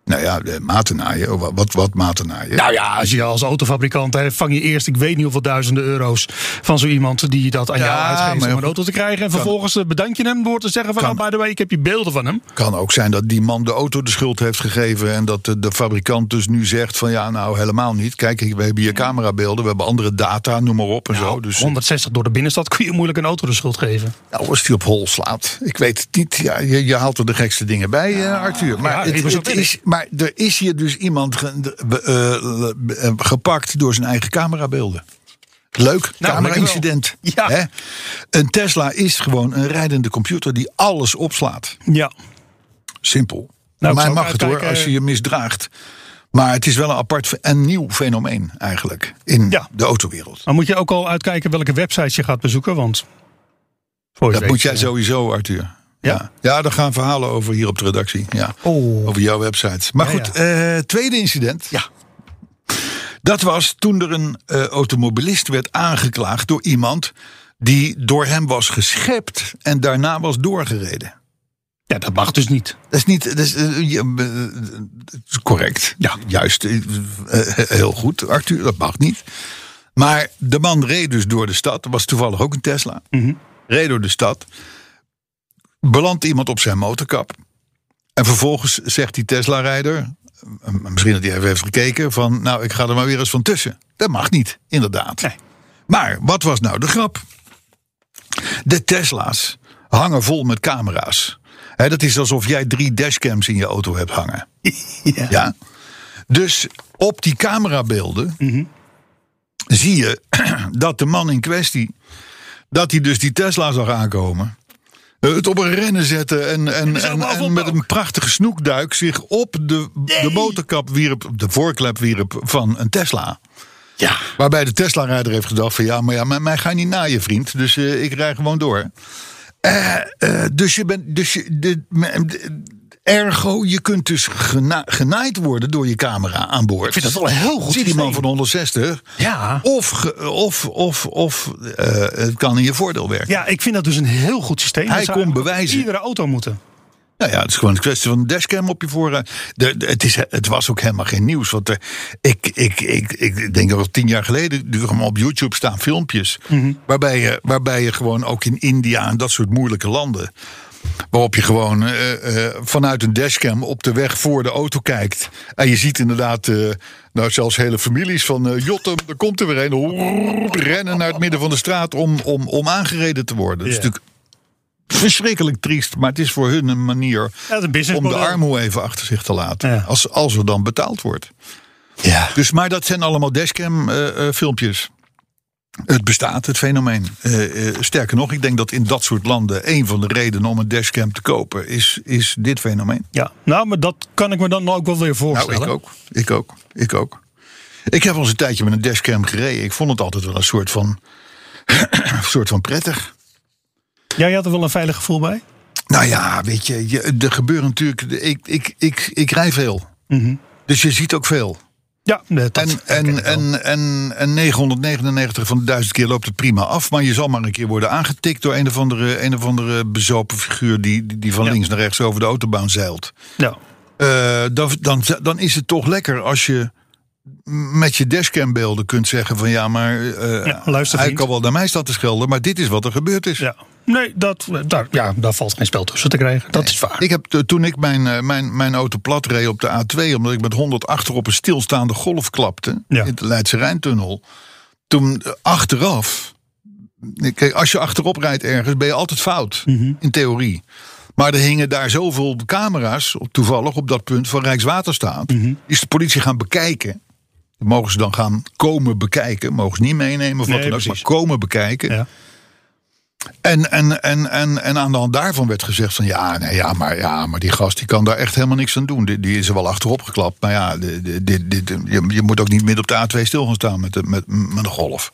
Nou ja, de matenaaien, oh, wa- wat, wat matenaaien? Nou ja, als je als autofabrikant hè, vang je eerst, ik weet niet hoeveel duizenden euro's van zo iemand die dat aan Ja, jou uitgeeft maar- om een auto te krijgen. En vervolgens eh, bedank je hem door te zeggen van, Kan. oh, by the way, ik heb je beelden van hem. Kan ook zijn dat die man de auto de schuld heeft gegeven en dat de, de fabrikant dus nu zegt van ja, nou helemaal niet. Kijk, we hebben hier camerabeelden, we hebben andere data, noem maar op en zo. Dus 160 door de binnenstad kun je moeilijk een auto de schuld geven. nou, als die op hol slaat, ik weet het niet. Ja, je, je haalt er de gekste dingen bij, eh, Arthur. Maar, ja, het, ik was het ook in. is, maar er is hier dus iemand ge- de- be- eh, be- eh, gepakt door zijn eigen camerabeelden. Nou, Leuk, camera-incident. Ja. Hè? Een Tesla is gewoon een rijdende computer die alles opslaat. Ja. Simpel. Nou, ik maar zou mag ook het hoor, uitkijken- als je je misdraagt. Maar het is wel een apart fe- en nieuw fenomeen eigenlijk in Ja. de autowereld. Dan moet je ook al uitkijken welke websites je gaat bezoeken, want... voor je Dat weet, moet jij eh, sowieso, Arthur. Ja? Ja, ja daar gaan verhalen over hier op de redactie. Ja. Oh. Over jouw website. Maar Ja, goed, eh, tweede incident. Ja. Dat was toen er een eh, automobilist werd aangeklaagd door iemand die door hem was geschept en daarna was doorgereden. Ja, dat mag dus niet. Dat is niet. Dat is, eh, je- eh, het is correct. Ja. Juist. eh, eh, heel goed, Arthur. Dat mag niet. Maar de man reed dus door de stad. Er was toevallig ook een Tesla. Reed door de stad. Belandt iemand op zijn motorkap. En vervolgens zegt die Tesla-rijder. eh, Misschien dat hij even heeft gekeken. Van nou, ik ga er maar weer eens van tussen. Dat mag niet, inderdaad. Nee. Maar wat was nou de grap? De Tesla's hangen vol met camera's. Hè, dat is alsof jij drie dashcams in je auto hebt hangen. Ja. Ja? Dus op die camerabeelden Mhm. zie je dat de man in kwestie, dat hij dus die Tesla zag aankomen. Eh, Het op een rennen zetten en, en, zag hem en, en aflopen met ook. een prachtige snoekduik zich op de, de motorkap wierp, de voorklep wierp van een Tesla. Ja. Waarbij de Tesla-rijder heeft gedacht van ja, maar ja, mij, mij ga je niet na je vriend. Dus eh, ik rij gewoon door. Eh, eh, dus je bent, dus je, de, me- de- ergo, je kunt dus gena- genaaid worden door je camera aan boord. Ik vind dat wel heel goed Zie die man idee. van 160. Ja. Of, ge- of, of, of eh, het kan in je voordeel werken. ja, ik vind dat dus een heel goed systeem. Hij Dat zou kon eigenlijk bewijzen. Iedere auto moeten. Nou ja, het is gewoon een kwestie van een dashcam op je voorruit. De, de- het, is, het was ook helemaal geen nieuws. Want eh, ik, ik, ik, ik denk dat al tien jaar geleden er gewoon op YouTube staan filmpjes. waarbij, je, waarbij je gewoon ook in India en dat soort moeilijke landen. Waarop je gewoon eh, eh, vanuit een dashcam op de weg voor de auto kijkt. En je ziet inderdaad, eh, nou zelfs hele families van eh Jotem, er komt er weer een. hoerroep, Rennen naar het midden van de straat om, om, om aangereden te worden. Dat is Ja. natuurlijk verschrikkelijk triest, maar het is voor hun een manier Ja, het is een business om de model. armoe even achter zich te laten. Ja. Als, als er dan betaald wordt. Ja. Dus, maar dat zijn allemaal dashcam eh, eh, filmpjes. Het bestaat, het fenomeen. Eh, eh, sterker nog, ik denk dat in dat soort landen een van de redenen om een dashcam te kopen is, is dit fenomeen. Ja. Nou, maar dat kan ik me dan ook wel weer Nou, voorstellen. ik ook. Ik ook. Ik ook. Ik heb al eens een tijdje met een dashcam gereden. Ik vond het altijd wel een soort van, soort van prettig. Jij had er wel een veilig gevoel bij? Nou ja, weet je, je er gebeuren natuurlijk. de- Ik, ik, ik, ik rij veel. Dus je ziet ook veel. Ja, nee, dat En, en, en, en, en 999 van de duizend keer loopt het prima af. Maar je zal maar een keer worden aangetikt door een of andere, een of andere bezopen figuur. Die, die, die van Ja. links naar rechts over de autobaan zeilt. ja. Eh, dan, dan, dan is het toch lekker als je met je dashcambeelden kunt zeggen: van ja, maar eh, Ja, luister, hij vriend. kan wel naar mij staan te schelden. Maar dit is wat er gebeurd is. ja. Nee, dat, eh, daar, ja, daar valt geen spel tussen te krijgen. Dat is waar. Ik heb t- toen ik mijn, eh, mijn, mijn auto plat reed op de A2, omdat ik met 100 achter op een stilstaande golf klapte Ja. in de Leidse Rijntunnel. Toen eh, achteraf, kijk, als je achterop rijdt ergens, ben je altijd fout in theorie. Maar er hingen daar zoveel camera's, op, toevallig op dat punt van Rijkswaterstaat, Mhm. is de politie gaan bekijken. Dat Mogen ze dan gaan komen bekijken? Mogen ze niet meenemen of wat Nee, dan ook, maar precies. komen bekijken. Ja. En, en, en, en, en aan de hand daarvan werd gezegd van ja, nee, ja, maar, ja maar die gast die kan daar echt helemaal niks aan doen. Die, die is er wel achterop geklapt. Maar ja, de- de- de- de- de- je, je moet ook niet midden op de A2 stil gaan staan met de, met, met de golf.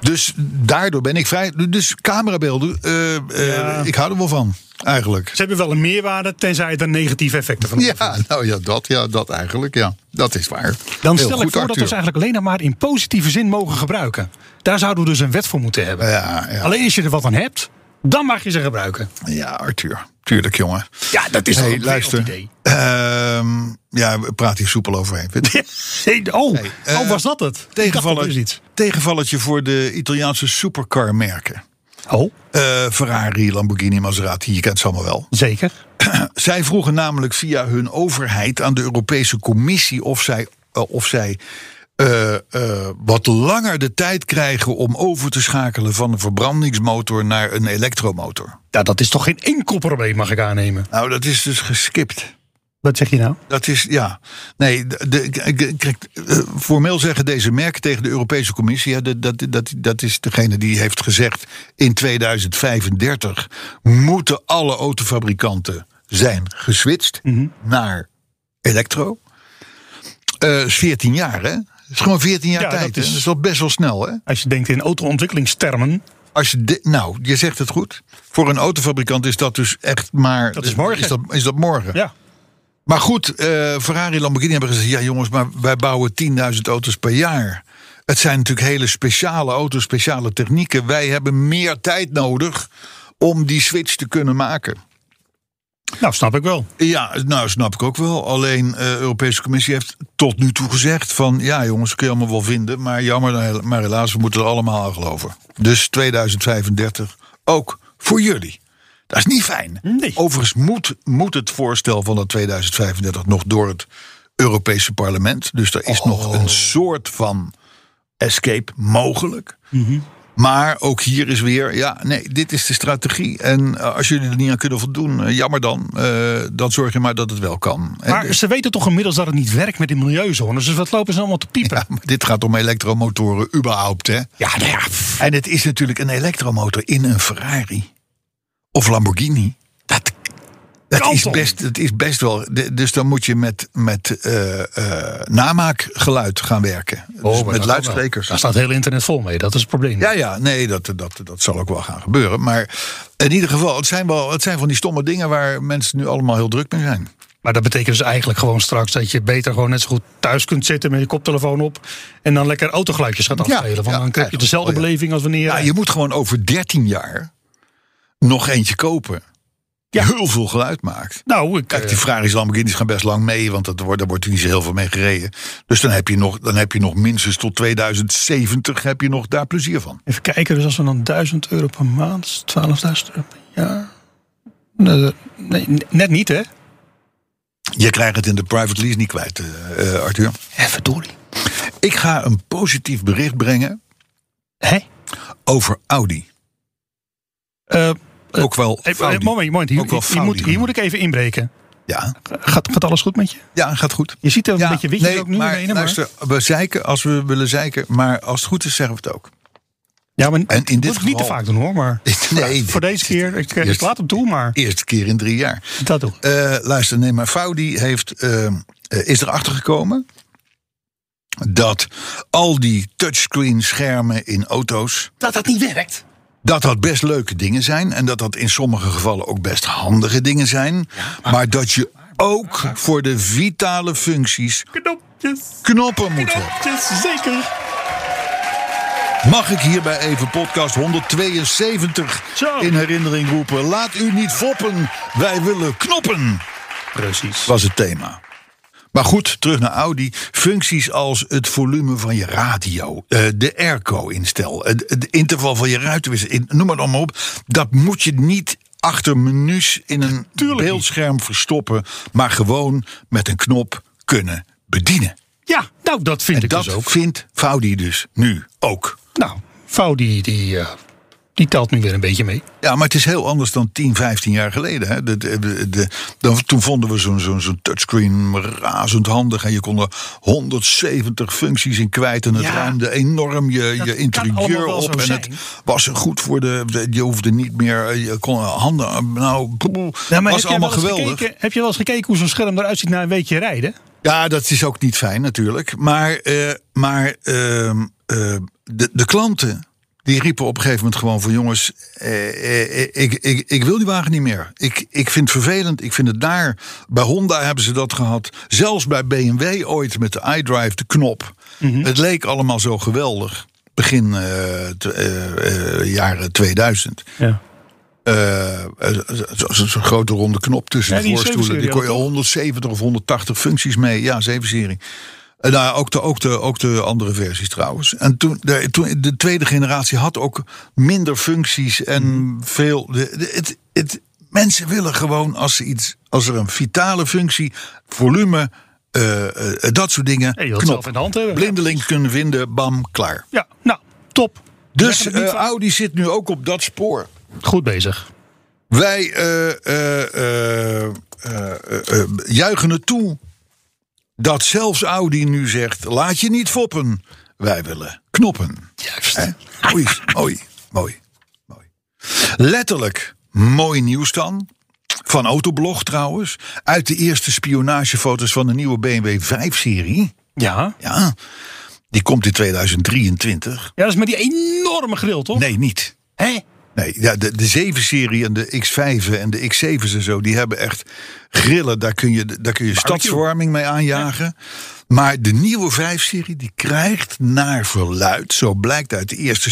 Dus daardoor ben ik vrij. Dus camerabeelden, eh, eh, Ja. ik hou er wel van, eigenlijk. Ze hebben wel een meerwaarde, tenzij er negatieve effecten van Ja, nou ja, dat, ja, dat eigenlijk, ja. Dat is waar. Dan Heel stel ik goed, voor dat we ze Arthur. eigenlijk alleen nog maar in positieve zin mogen gebruiken. Daar zouden we dus een wet voor moeten hebben. Ja, ja. Alleen als je er wat aan hebt, dan mag je ze gebruiken. Ja, Arthur. Tuurlijk, jongen. Ja, dat is Hé, toch hey, een luister. wereldidee. Ehm, ja, we praten hier soepel overheen. Hey, oh, eh, oh, was dat het? Ik dacht dat Tegenvaller, is iets. tegenvallertje voor de Italiaanse supercarmerken. Oh, Eh Ferrari, Lamborghini, Maserati, je kent ze allemaal wel. zeker. Zij vroegen namelijk via hun overheid aan de Europese Commissie of zij, eh, of zij eh, eh, wat langer de tijd krijgen om over te schakelen van een verbrandingsmotor naar een elektromotor. Ja, dat is toch geen enkel probleem, mag ik aannemen. Nou, dat is dus geskipt. Wat zeg je nou? Dat is, ja. Nee, de, de- k- kijk, eh, formeel zeggen deze merken tegen de Europese Commissie... hè, dat, dat, dat, dat is degene die heeft gezegd... in 2035 moeten alle autofabrikanten zijn geswitcht Mhm. naar elektro. Eh, is 14 jaar, hè? Het is gewoon 14 jaar Ja, tijd. dat hè? is- Dat is wel best wel snel, hè? Als je denkt in auto-ontwikkelingstermen, Als je dit- nou, je zegt het goed. Voor een autofabrikant is dat dus echt maar... Dat is morgen. Is dat, is dat morgen. ja. Maar goed, eh, Ferrari en Lamborghini hebben gezegd... ja jongens, maar wij bouwen 10.000 auto's per jaar. Het zijn natuurlijk hele speciale auto's, speciale technieken. Wij hebben meer tijd nodig om die switch te kunnen maken. Nou, snap ik wel. Ja, nou snap ik ook wel. Alleen eh, de Europese Commissie heeft tot nu toe gezegd van... ja jongens, kun je allemaal wel vinden, maar jammer, maar helaas, we moeten er allemaal aan geloven. Dus 2035 ook voor jullie. Dat is niet fijn. Nee. Overigens moet, moet het voorstel van dat 2035 nog door het Europese parlement. Dus er Oh. is nog een soort van escape mogelijk. Mhm. Maar ook hier is weer, ja, nee, dit is de strategie. En eh, als jullie er niet aan kunnen voldoen, eh, jammer dan. Eh, dan zorg je maar dat het wel kan. En, Maar ze weten toch inmiddels dat het niet werkt met die milieuzones. Dus wat lopen ze allemaal te piepen? ja, maar dit gaat om elektromotoren überhaupt, hè? Ja, nou ja, pff, En het is natuurlijk een elektromotor in een Ferrari. Of Lamborghini. dat Dat Kan is, toch best, dat is best wel. de- Dus dan moet je met, met eh, eh, namaakgeluid gaan werken. Oh, dus met luidsprekers. Daar staat heel internet vol mee. Dat is het probleem. Ja, ja, nee, dat, dat, dat zal ook wel gaan gebeuren. Maar in ieder geval, het zijn, wel, het zijn van die stomme dingen waar mensen nu allemaal heel druk mee zijn. Maar dat betekent dus eigenlijk gewoon straks dat je beter gewoon net zo goed thuis kunt zitten met je koptelefoon op. En dan lekker autogeluidjes gaat Ja, afspelen. Want ja, dan heb je eigenlijk dezelfde wel, ja. beleving als wanneer. Ja, je moet gewoon over 13 jaar nog eentje kopen. Die heel veel geluid maakt. Nou, ik, Kijk, eh, die Ferrari's Lamborghinis gaan best lang mee, want dat wordt, daar wordt niet zo heel veel mee gereden. Dus dan heb je nog, dan heb je nog minstens tot 2070 heb je nog daar plezier van. even kijken. Dus als we dan 1000 euro per maand, 12.000 euro per jaar. Nee, eh, nee, net niet, hè? Je krijgt het in de private lease niet kwijt, eh, eh, Arthur. Ja, verdorie. Ik ga een positief bericht brengen Hé? over Audi. Eh, Ook wel eh, Audi. moment, moment. Hier, Ook wel hier Faudi moet, hier genoemd. moet ik even inbreken. Ja, Gaat, gaat alles goed met je? ja, gaat goed. Je ziet er ja, een beetje witjes ook nu in de ene, maar- luister, we zeiken als we willen zeiken, maar als het goed is zeggen we het ook. Ja, maar in dat dit moet ik niet te geval- vaak doen hoor. Maar Nee, voor deze keer, ik, eh, ik Eerst- laat hem toe, maar Eerste keer in drie jaar. dat doe. Eh, luister, nee, maar Faudi heeft, eh, eh, is erachter gekomen dat al die touchscreen schermen in auto's, Dat dat niet werkt. dat dat best leuke dingen zijn en dat dat in sommige gevallen ook best handige dingen zijn, maar, dat je ook voor de vitale functies Knopjes, knoppen moet hebben. knopjes, zeker. Mag ik hierbij even podcast 172 Zo. in herinnering roepen? Laat u niet foppen, wij willen knoppen. Precies. was het thema. Maar goed, terug naar Audi. Functies als het volume van je radio, eh, de airco-instel, het, het interval van je ruitenwissel, in- noem het allemaal op. Dat moet je niet achter menus in een beeldscherm verstoppen, maar gewoon met een knop kunnen bedienen. Ja, nou dat vind En ik dat dus ook. vindt Faudi dus nu ook. Nou, Vouw die, die eh, die telt nu weer een beetje mee. Ja, maar het is heel anders dan 10, 15 jaar geleden. Hè? De, de, de, de- dan, toen vonden we zo'n zo'n zo'n touchscreen razend handig. En je kon er 170 functies in kwijt. En het Ja. ruimde enorm je, Dat je kan allemaal interieur wel zo op. En het zijn. was goed voor de, de- Je hoefde niet meer. eh, Je kon handen. Nou, Ja, maar heb was jij allemaal wel eens geweldig. Gekeken, heb je wel eens gekeken hoe zo'n scherm eruit ziet na een weekje rijden? Ja, dat is ook niet fijn natuurlijk. Maar, eh, maar ehm, eh, de, de klanten die riepen op een gegeven moment gewoon van jongens, eh, eh, ik, ik, ik wil die wagen niet meer. Ik, ik vind het vervelend. Ik vind het daar. Bij Honda hebben ze dat gehad. Zelfs bij BMW ooit met de iDrive, de knop. Het leek allemaal zo geweldig. Begin eh, t- eh, eh, jaren 2000. Ja. Eh, eh, zo- zo- Zo'n grote ronde knop tussen Ja, de die voorstoelen. Die kon je 7-serie 170 of 180 functies mee. Ja, 7-serie. Eh, Nou, ook de, ook, de, ook de andere versies trouwens. En toen de, toen, de tweede generatie had ook minder functies Hmm. en veel. de- de- het, het, mensen willen gewoon als, ze iets, als er een vitale functie, volume, eh, eh, dat soort dingen. Ja, je wilt het zelf in de hand hebben. Blindelings kunnen vinden, bam, klaar. Ja, nou, top. Dus Zeggen we niet eh, van- Audi zit nu ook op dat spoor. Goed bezig. Wij eh, eh, eh, eh, eh, eh, juichen het toe dat zelfs Audi nu zegt: laat je niet foppen, wij willen knoppen. Juist. Hè? Oei, mooi, mooi, mooi. Letterlijk mooi nieuws dan. Van Autoblog trouwens. Uit de eerste spionagefoto's van de nieuwe BMW 5-serie. Ja. Ja, die komt in 2023. Ja, dat is met die enorme grill, toch? Nee, niet. Hè? Nee, ja, de, de 7-serie en de X5 en de X7's en zo, die hebben echt grillen. Daar kun je, daar kun je stadsverwarming mee aanjagen. Maar de nieuwe 5-serie, die krijgt naar verluid, zo blijkt uit de eerste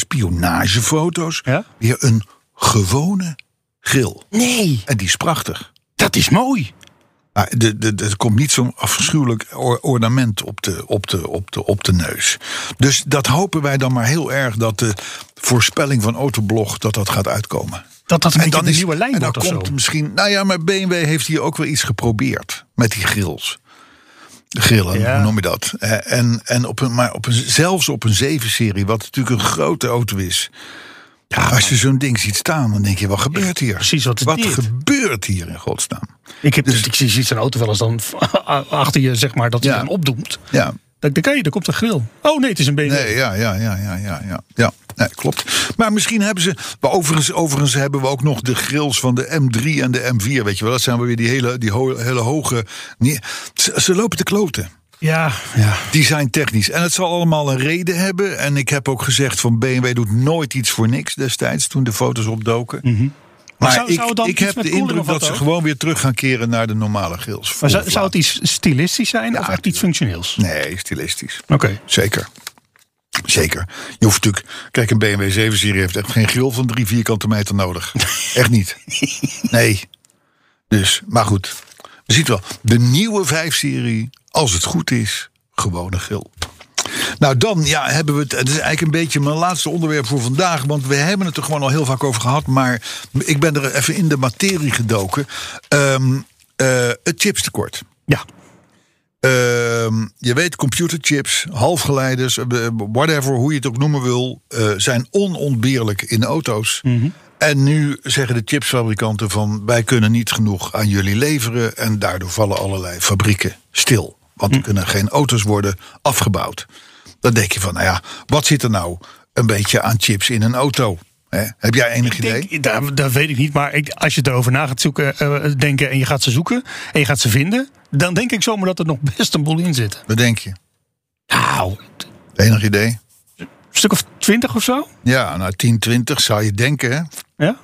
spionagefoto's, Ja? weer een gewone grill. Nee, En die is prachtig. dat is mooi. Maar Ah, de, de, de- er komt niet zo'n afschuwelijk or- ornament op de, op, de, op, de, op de neus. Dus dat hopen wij dan maar heel erg dat de voorspelling van Autoblog dat dat gaat uitkomen. Dat dat een En beetje dan de is- nieuwe lijn en dan wordt of komt zo. misschien. Nou ja, maar BMW heeft hier ook wel iets geprobeerd met die grills. De Grillen, Ja. hoe noem je dat? Eh, En, en op een, maar op een, zelfs op een 7-serie, wat natuurlijk een grote auto is. Ja, als je zo'n ding ziet staan, dan denk je, wat gebeurt hier? precies wat het Wat deed. gebeurt hier in godsnaam? Ik, heb, ik zie zo'n auto wel eens dan achter je, zeg maar, dat hij Ja. dan opdoemt. Ja, Dan denk ik, hé, daar komt een grill. Oh nee, het is een BMW. Nee, ja, ja, ja, ja, ja, ja. ja nee, klopt. Maar misschien hebben ze. Maar overigens, overigens hebben we ook nog de grills van de M3 en de M4. Weet je wel, dat zijn weer die hele, die ho- hele hoge. nee, Ze, ze lopen te kloten. Ja, ja. Design technisch. En het zal allemaal een reden hebben. En ik heb ook gezegd van BMW doet nooit iets voor niks destijds toen de foto's opdoken. Maar Mhm. zou- ik, zou het dan ik iets heb met de koeling indruk of wat dat ze ook? gewoon weer terug gaan keren naar de normale grills. Maar zou, zou het iets stilistisch zijn of echt iets functioneels? Nee, stilistisch. Oké. Zeker. Zeker. Je hoeft natuurlijk. Kijk, een BMW 7-serie heeft echt geen grill van drie vierkante meter nodig. echt niet. Nee. Dus, maar goed. We zien het wel. De nieuwe 5-serie, als het goed is, gewoon een grill. Nou, dan ja, hebben we het. Het is eigenlijk een beetje mijn laatste onderwerp voor vandaag. Want we hebben het er gewoon al heel vaak over gehad. Maar ik ben er even in de materie gedoken. Ehm, eh, het chipstekort. Ja. Ehm, je weet, computerchips, halfgeleiders, eh, whatever, hoe je het ook noemen wil, eh, zijn onontbeerlijk in auto's. Mhm. En nu zeggen de chipsfabrikanten van wij kunnen niet genoeg aan jullie leveren. En daardoor vallen allerlei fabrieken stil. Want Mhm. er kunnen geen auto's worden afgebouwd. Dan denk je van, nou ja, wat zit er nou een beetje aan chips in een auto? Hè? Heb jij enig idee? Ik, daar, daar weet ik niet, maar ik, als je erover na gaat zoeken, eh, denken en je gaat ze zoeken en je gaat ze vinden, dan denk ik zomaar dat er nog best een boel in zit. Wat denk je? Nou, Enig idee? een stuk of twintig of zo? Ja, nou 10, 20 zou je denken. hè? Ja?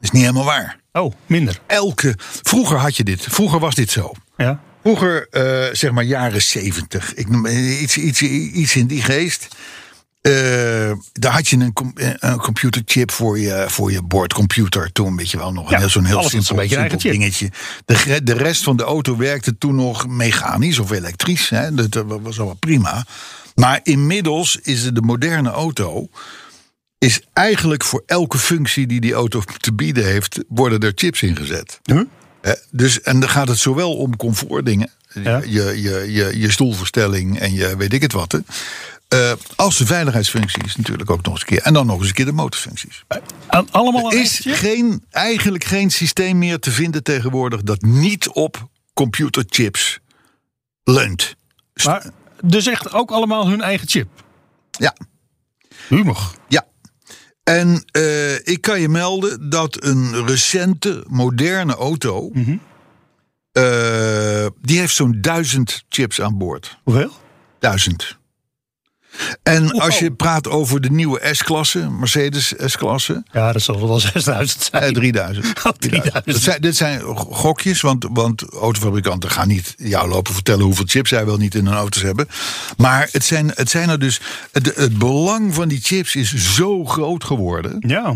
Is niet helemaal waar. Oh, minder. elke. Vroeger had je dit. Vroeger was dit zo. Ja. Vroeger, eh, zeg maar jaren zeventig. Ik noem eh, iets, iets, iets in die geest. Eh, daar had je een, com- eh, een computerchip voor je, voor je boordcomputer toen, weet je wel, nog een Ja, heel- zo'n heel alles had simpel, zo'n beetje een simpel eigen dingetje. De, gre- de rest van de auto werkte toen nog mechanisch of elektrisch. Hè? Dat eh, was allemaal prima. Maar inmiddels is de moderne auto is eigenlijk voor elke functie die die auto te bieden heeft, worden er chips ingezet. Huh? Hè, dus, en dan gaat het zowel om comfortdingen, Ja. je, je, je, je stoelverstelling en je weet ik het wat. hè. Eh, als de veiligheidsfunctie is natuurlijk ook nog eens een keer. En dan nog eens een keer de motorfuncties. Aan- Allemaal Er een is rijtje? geen, eigenlijk geen systeem meer te vinden tegenwoordig dat niet op computerchips leunt. Maar, dus echt ook allemaal hun eigen chip. Ja, Humor. ja. En eh, ik kan je melden dat een recente, moderne auto. eh, die heeft zo'n duizend chips aan boord. Hoeveel? Duizend. En Wow. als je praat over de nieuwe S-klasse, Mercedes S-klasse, Ja, dat zal wel 6000 zijn. eh, 3000. Oh, 3000. Dat zijn, dit zijn gokjes, want, want autofabrikanten gaan niet jou lopen vertellen hoeveel chips zij wel niet in hun auto's hebben. Maar het zijn, het zijn er dus. Het, het belang van die chips is zo groot geworden. Ja.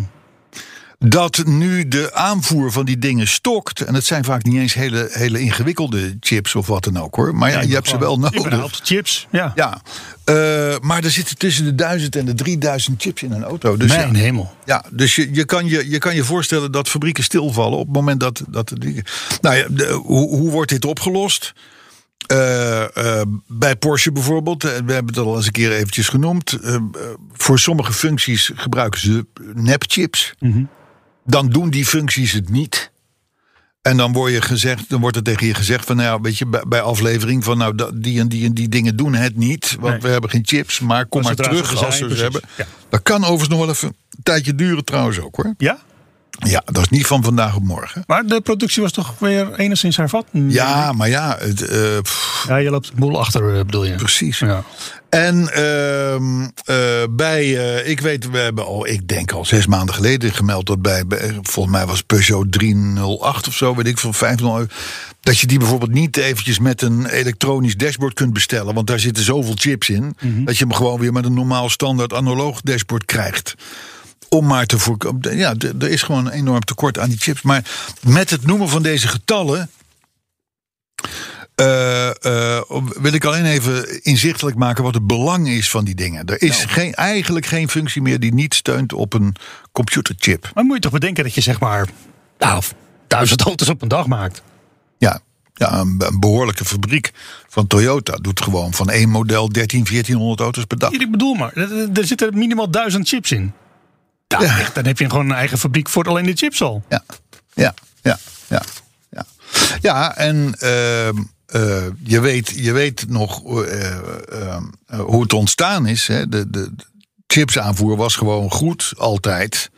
dat nu de aanvoer van die dingen stokt. En het zijn vaak niet eens hele, hele ingewikkelde chips of wat dan ook hoor. Maar ja, je hebt ze wel nodig. Überhaupt chips, ja. Ja, eh, maar er zitten tussen de 1000 en de 3000 chips in een auto. Dus ja, Mijn hemel. ja, dus je, je, kan je, je kan je voorstellen dat fabrieken stilvallen op het moment dat. dat die- nou ja, de- hoe, hoe wordt dit opgelost? Eh, eh, bij Porsche bijvoorbeeld, eh, we hebben het al eens een keer eventjes genoemd. eh, eh, voor sommige functies gebruiken ze nepchips. Dan doen die functies het niet. En dan, word je gezegd, dan wordt er tegen je gezegd van, nou ja, weet je, bij, bij aflevering van, nou, dat- die en die en die dingen doen het niet, want Nee. we hebben geen chips, maar kom Maar maar zodra ze er terug als zijn, we ze hebben. precies. Ja. Dat kan overigens nog wel even een tijdje duren trouwens ook hoor. Ja? Ja, dat is niet van vandaag op morgen. Maar de productie was toch weer enigszins hervat? Ja, maar ja, het, eh, pff, Ja, je loopt een boel achter, eh, bedoel je? precies. Ja. En ehm, eh, bij, eh, ik weet, we hebben al, ik denk al zes maanden geleden gemeld dat bij, bij- volgens mij was Peugeot 308 of zo, weet ik veel, 500, dat je die bijvoorbeeld niet eventjes met een elektronisch dashboard kunt bestellen, want daar zitten zoveel chips in, dat je hem gewoon weer met een normaal standaard analoog dashboard krijgt. Om maar te voorkomen. Ja, d- er is gewoon een enorm tekort aan die chips. Maar met het noemen van deze getallen eh, eh, wil ik alleen even inzichtelijk maken wat het belang is van die dingen. Er is geen, eigenlijk geen functie meer die niet steunt op een computerchip. Maar moet je toch bedenken dat je zeg maar... Nou, duizend auto's op een dag maakt. Ja, ja een, be- een behoorlijke fabriek van Toyota doet gewoon van één model 13, 1400 auto's per dag. Ik bedoel maar, er- er er zitten minimaal duizend chips in. Nou, Ja. echt, dan heb je gewoon een eigen fabriek voor alleen de chips al. Ja, ja, ja, ja. Ja, ja en ehm, eh, je, weet, je weet nog eh, ehm, eh, hoe het ontstaan is. Hè? De, de, de chipsaanvoer was gewoon goed, altijd.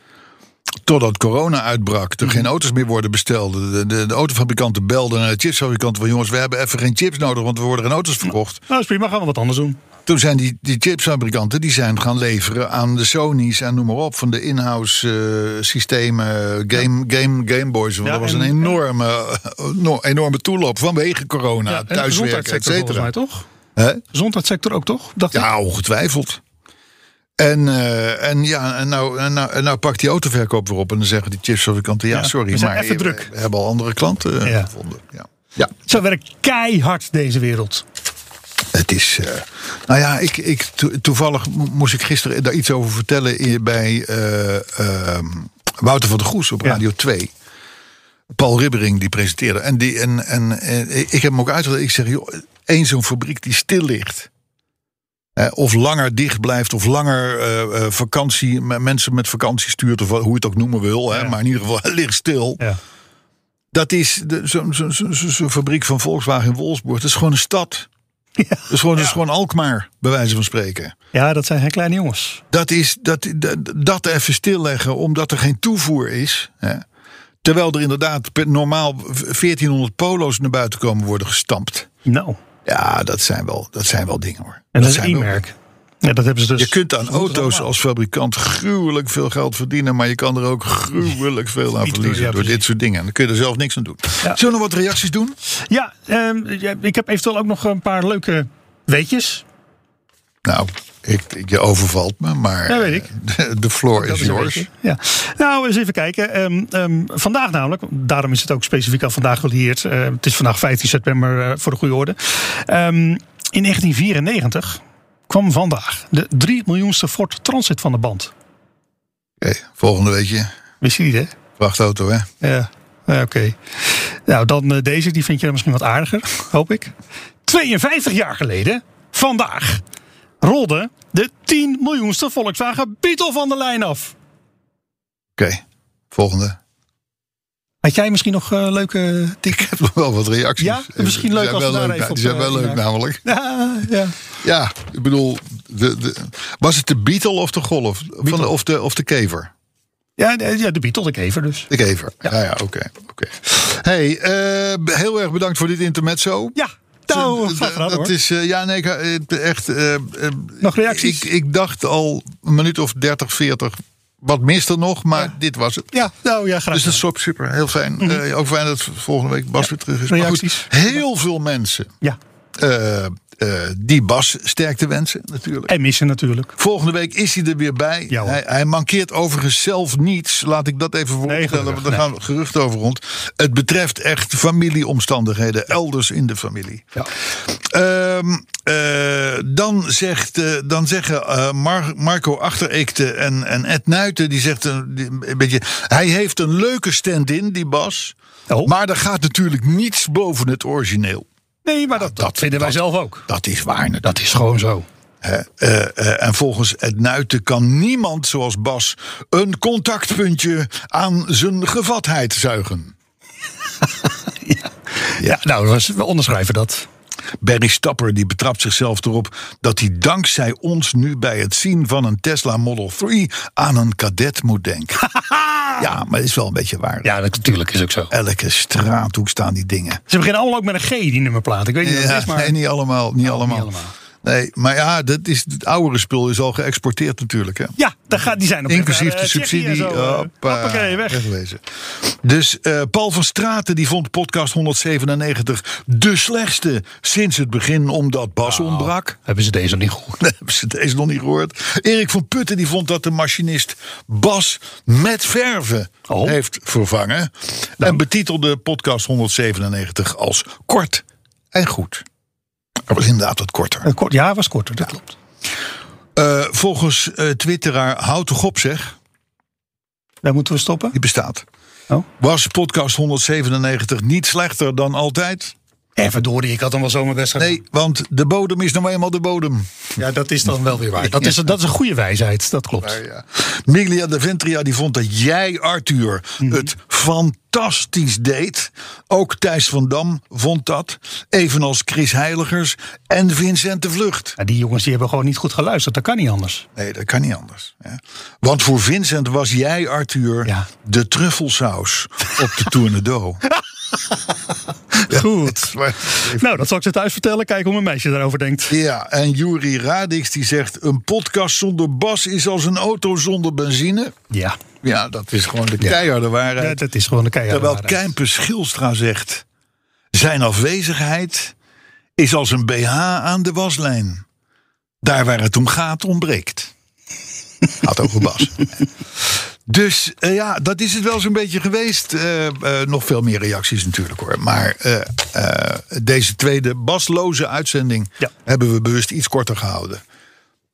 Totdat corona uitbrak, Mhm. er geen auto's meer worden besteld. De, de, de autofabrikanten belden naar de chipsfabrikanten van... jongens, we hebben even geen chips nodig, want we worden geen auto's verkocht. Nou, is prima, gaan we wat anders doen. Toen zijn die, die chipsfabrikanten die zijn gaan leveren aan de Sony's en noem maar op. Van de in-house eh, systemen, game, game, Game Boys. Want Ja, dat was en- een enorme, eh, no- enorme toelop vanwege corona, en de thuiswerken, et gezondheidssector volgens mij, cetera. toch? Hè? Gezondheidssector ook, toch? Dacht ik. Ja, ongetwijfeld. En, eh, en, ja, en, nou, en, nou, en nou pakt die autoverkoop weer op. En dan zeggen die chipsfabrikanten, ja, Ja, sorry, we zijn maar even we, druk. we hebben al andere klanten eh, Ja. gevonden. Ja. ja. Zo werkt keihard deze wereld. Het is. eh, nou ja, ik, ik, to- toevallig mo- moest ik gisteren daar iets over vertellen in- bij eh, ehm, Wouter van der Goes op Ja. Radio 2. Paul Ribbering die presenteerde. En, die, en, en, eh, ik heb hem ook uitgelegd. Ik zeg, joh, één zo'n fabriek die stil ligt. Hè, of langer dicht blijft, of langer eh, eh, vakantie, m- mensen met vakantie stuurt, of wat- hoe je het ook noemen wil. Hè, Ja. Maar in ieder geval, het ligt stil. Ja. Dat is de- zo'n zo, zo, zo- zo'n fabriek van Volkswagen in Wolfsburg. Dat is gewoon een stad. Dat, is gewoon, dat is gewoon Alkmaar, bij wijze van spreken. ja, dat zijn geen kleine jongens. Dat, is, dat, dat, dat even stilleggen, omdat er geen toevoer is. Hè. Terwijl er inderdaad per- normaal 1400 polo's naar buiten komen worden gestampt. Nou, Ja, dat zijn wel, dat zijn wel dingen hoor. en dat, is zijn wel- één merk. Ja, dat hebben ze dus. Je kunt aan moeten het auto's allemaal. als fabrikant gruwelijk veel geld verdienen, maar je kan er ook gruwelijk veel aan Niet verliezen doen, ja, door dit precies. soort dingen. En dan kun je er zelf niks aan doen. Ja. Zullen we wat reacties doen? Ja, ehm, ja, ik heb eventueel ook nog een paar leuke weetjes. Nou, ik, ik- je overvalt me, maar eh, Ja, weet ik. de, de floor is Dat is een yours. beetje- Ja. Nou, eens even kijken. Ehm, ehm, vandaag namelijk, daarom is het ook specifiek al vandaag gelieerd. Eh, het is vandaag 15 september eh, voor de goede orde. Ehm, in 1994 kwam vandaag de 3 miljoenste Ford Transit van de band. Oké, volgende weekje, Wist je niet, hè? vrachtauto hè. Ja, ja, oké. Nou, dan eh, deze, die vind je dan misschien wat aardiger, hoop ik. 52 jaar geleden, vandaag, rolde de 10 miljoenste Volkswagen Beetle van de lijn af. volgende. Had jij misschien nog eh, leuke Ik heb nog wel wat reacties. Ja, misschien leuk Die zijn als we wel daar leuk, even op, Die zijn wel eh, leuk inhaken. namelijk. Ja, ja. Ja, ik bedoel, de, de, was het de Beetle of de Golf? Van de, of, de, of de Kever? Ja, de, ja, de Beetle, de kever dus. De Kever. Ja, ja, oké. oké. Hey, eh, heel erg bedankt voor dit intermezzo. Ja, nou, Eh, graag gedaan dat hoor. is, eh, ja, nee, ik, eh, echt. eh, eh, Nog reacties? Ik, ik dacht al een minuut of 30, 40. Wat mist er nog, maar dit was het. Ja, nou ja, graag Dus dat gedaan. is super, super, heel fijn. Eh, ook fijn dat volgende week Bas weer terug is. reacties. Maar goed, heel veel mensen Ja, eh, eh, die Bas sterkte wensen, natuurlijk. en missen natuurlijk. Volgende week is hij er weer bij. Ja, hoor. hij, hij mankeert overigens zelf niets. Laat ik dat even vooropstellen, gelukkig, want daar gaan geruchten over rond. Het betreft echt familieomstandigheden, elders in de familie. Ja. Ehm, eh, dan, zegt, eh, dan zeggen eh, Mar- Marco Achtereekte en, en Ed Nuiten, die zegt een, die- een beetje... Hij heeft een leuke stand-in, die Bas. Oh. Maar er gaat natuurlijk niets boven het origineel. Nee, maar dat, Nou, dat, vinden wij zelf ook. Dat is waar, natuurlijk. Dat is gewoon zo. Hè, eh, eh, en volgens Ed Nuiten kan niemand zoals Bas een contactpuntje aan zijn gevatheid zuigen. Ja, nou, dat is- we onderschrijven dat. Barry Stapper die betrapt zichzelf erop dat hij dankzij ons nu bij het zien van een Tesla Model 3 aan een kadet moet denken. ja, maar het is wel een beetje waar. Ja, dat natuurlijk is ook zo. Elke straathoek staan die dingen. Ze beginnen allemaal ook met een G, die nummerplaat. Ik weet niet wat het Ja, is, maar... Oh, nee, niet allemaal. Niet allemaal. allemaal. Nee, maar ja, dat is, het oudere spul is al geëxporteerd natuurlijk. Hè? Ja, daar gaat, die zijn op weg Inclusief naar, de eh, Tsjechië subsidie. en zo, eh. Hoppa, Hoppakee, weg. Wegwezen. Dus eh, Paul van Straten die vond podcast 197 de slechtste sinds het begin omdat Bas Nou. ontbrak. Hebben ze deze niet gehoord? Nee, Hebben ze deze nog niet gehoord? Erik van Putten die vond dat de machinist Bas met verven Oh. heeft vervangen. En betitelde podcast 197 als kort en goed. Dat was inderdaad wat korter. Eh, Kort, ja, was korter, dat klopt. Eh, volgens eh, twitteraar Houd toch op zeg. Daar moeten we stoppen. die bestaat. Oh. Was podcast 197 niet slechter dan altijd? En Eh, verdorie, ik had hem wel zomaar best gedaan. Nee, want de bodem is nou eenmaal de bodem. Ja, dat is dan wel weer waar. Dat is, dat is een goede wijsheid, dat klopt. Miglia de Ventria die vond dat jij, Arthur, Mhm. het fantastisch deed. Ook Thijs van Dam vond dat. Evenals Chris Heiligers en Vincent de Vlucht. Ja, die jongens die hebben gewoon niet goed geluisterd, dat kan niet anders. Nee, dat kan niet anders. Hè. Want voor Vincent was jij, Arthur, Ja. de truffelsaus op de Tournedo. Goed. Nou, dat zal ik ze thuis vertellen. Kijken hoe mijn meisje daarover denkt. Ja, en Juri Radix die zegt... een podcast zonder Bas is als een auto zonder benzine. Ja, Ja, dat is gewoon de keiharde waarheid. ja, dat is gewoon een keiharde Terwijl waarheid. Kijmpers Schilstra zegt... zijn afwezigheid is als een BH aan de waslijn. Daar waar het om gaat, ontbreekt. Gaat over Bas. Dus eh, ja, dat is het wel zo'n beetje geweest. Eh, eh, nog veel meer reacties natuurlijk hoor. Maar eh, eh, deze tweede basloze uitzending Ja. hebben we bewust iets korter gehouden.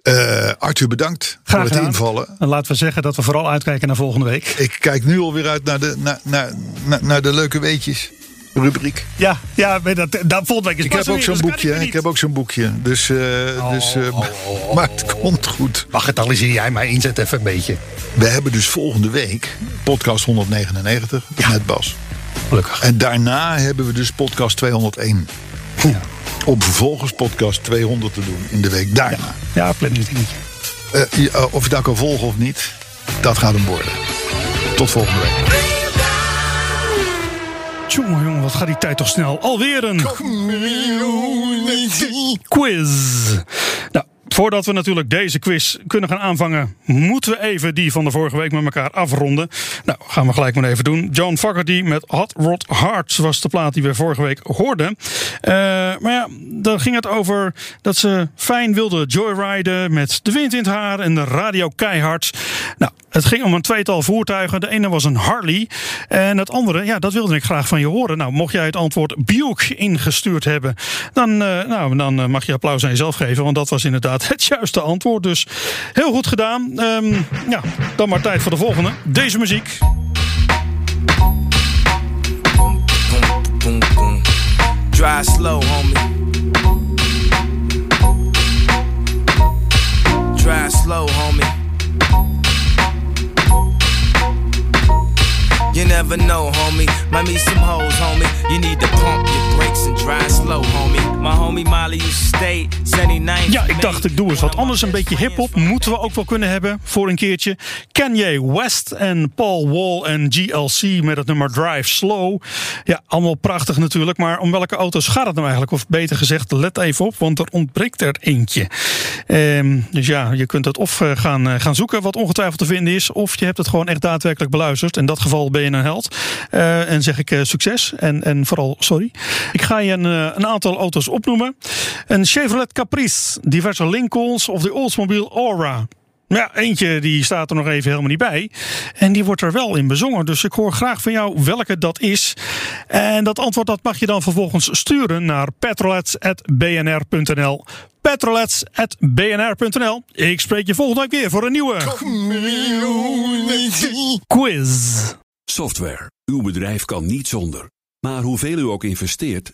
Eh, Arthur, bedankt Graag voor het gedaan. invallen. En laten we zeggen dat we vooral uitkijken naar volgende week. Ik kijk nu alweer uit naar de, naar, naar, naar, naar de leuke weetjes rubriek. Ja, ja maar dat, dat volgende week is Ik pas heb er ook weer, zo'n dus kan boekje. weer hè. Ik niet. heb ook zo'n boekje. Dus, eh, Oh, dus eh, maar het komt goed. Mag het al eens hier jij maar inzet even een beetje. We hebben dus volgende week podcast 199 met Bas. Gelukkig. En daarna hebben we dus podcast 201. Ja, Om vervolgens podcast 200 te doen in de week daarna. ja plan dit dingetje. Eh, je- eh, of je daar kan volgen of niet, dat gaat hem worden. Tot volgende week. Tjonge, jongen, wat gaat die tijd toch snel? Alweer een quiz. Nou, voordat we natuurlijk deze quiz kunnen gaan aanvangen, moeten we even die van de vorige week met elkaar afronden. Nou, gaan we gelijk maar even doen. John Fogerty met Hot Rod Hearts was de plaat die we vorige week hoorden. Eh, maar ja, daar ging het over dat ze fijn wilden joyriden met de wind in het haar en de radio keihard. Nou, het ging om een tweetal voertuigen. De ene was een Harley. En het andere, ja, dat wilde ik graag van je horen. Nou, mocht jij het antwoord Buick ingestuurd hebben, dan, eh, nou, dan eh, mag je applaus aan jezelf geven. Want dat was inderdaad het juiste antwoord. Dus heel goed gedaan. Ehm, ja, dan maar tijd voor de volgende. Deze muziek. boom, boom. Drive slow, homie. Drive slow, homie. You never know, homie. Might meet some hoes, homie. You need to pump your brakes and drive slow, homie. My homie Molly used to stay 79. Ja, ik dacht ik doe eens wat anders. Een beetje hip-hop moeten we ook wel kunnen hebben voor een keertje. Kanye West en Paul Wall en GLC met het nummer Drive Slow. Ja, allemaal prachtig natuurlijk. Maar om welke auto's gaat het nou eigenlijk? Of beter gezegd, let even op, want er ontbreekt er eentje. Ehm, dus ja, je kunt het of eh, gaan, eh, gaan zoeken, wat ongetwijfeld te vinden is. Of je hebt het gewoon echt daadwerkelijk beluisterd. In dat geval ben je een held. Eh, en zeg ik eh, succes. En, en vooral sorry. Ik ga je een, eh, een aantal auto's opnoemen. Een Chevrolet Caprice, diverse Lincolns of de Oldsmobile Aura. Ja, eentje die staat er nog even helemaal niet bij. En die wordt er wel in bezongen. Dus ik hoor graag van jou welke dat is. En dat antwoord dat mag je dan vervolgens sturen naar petrolets.bnr.nl petrolets.bnr.nl Ik spreek je volgende week weer voor een nieuwe quiz. Software. Uw bedrijf kan niet zonder. Maar hoeveel u ook investeert,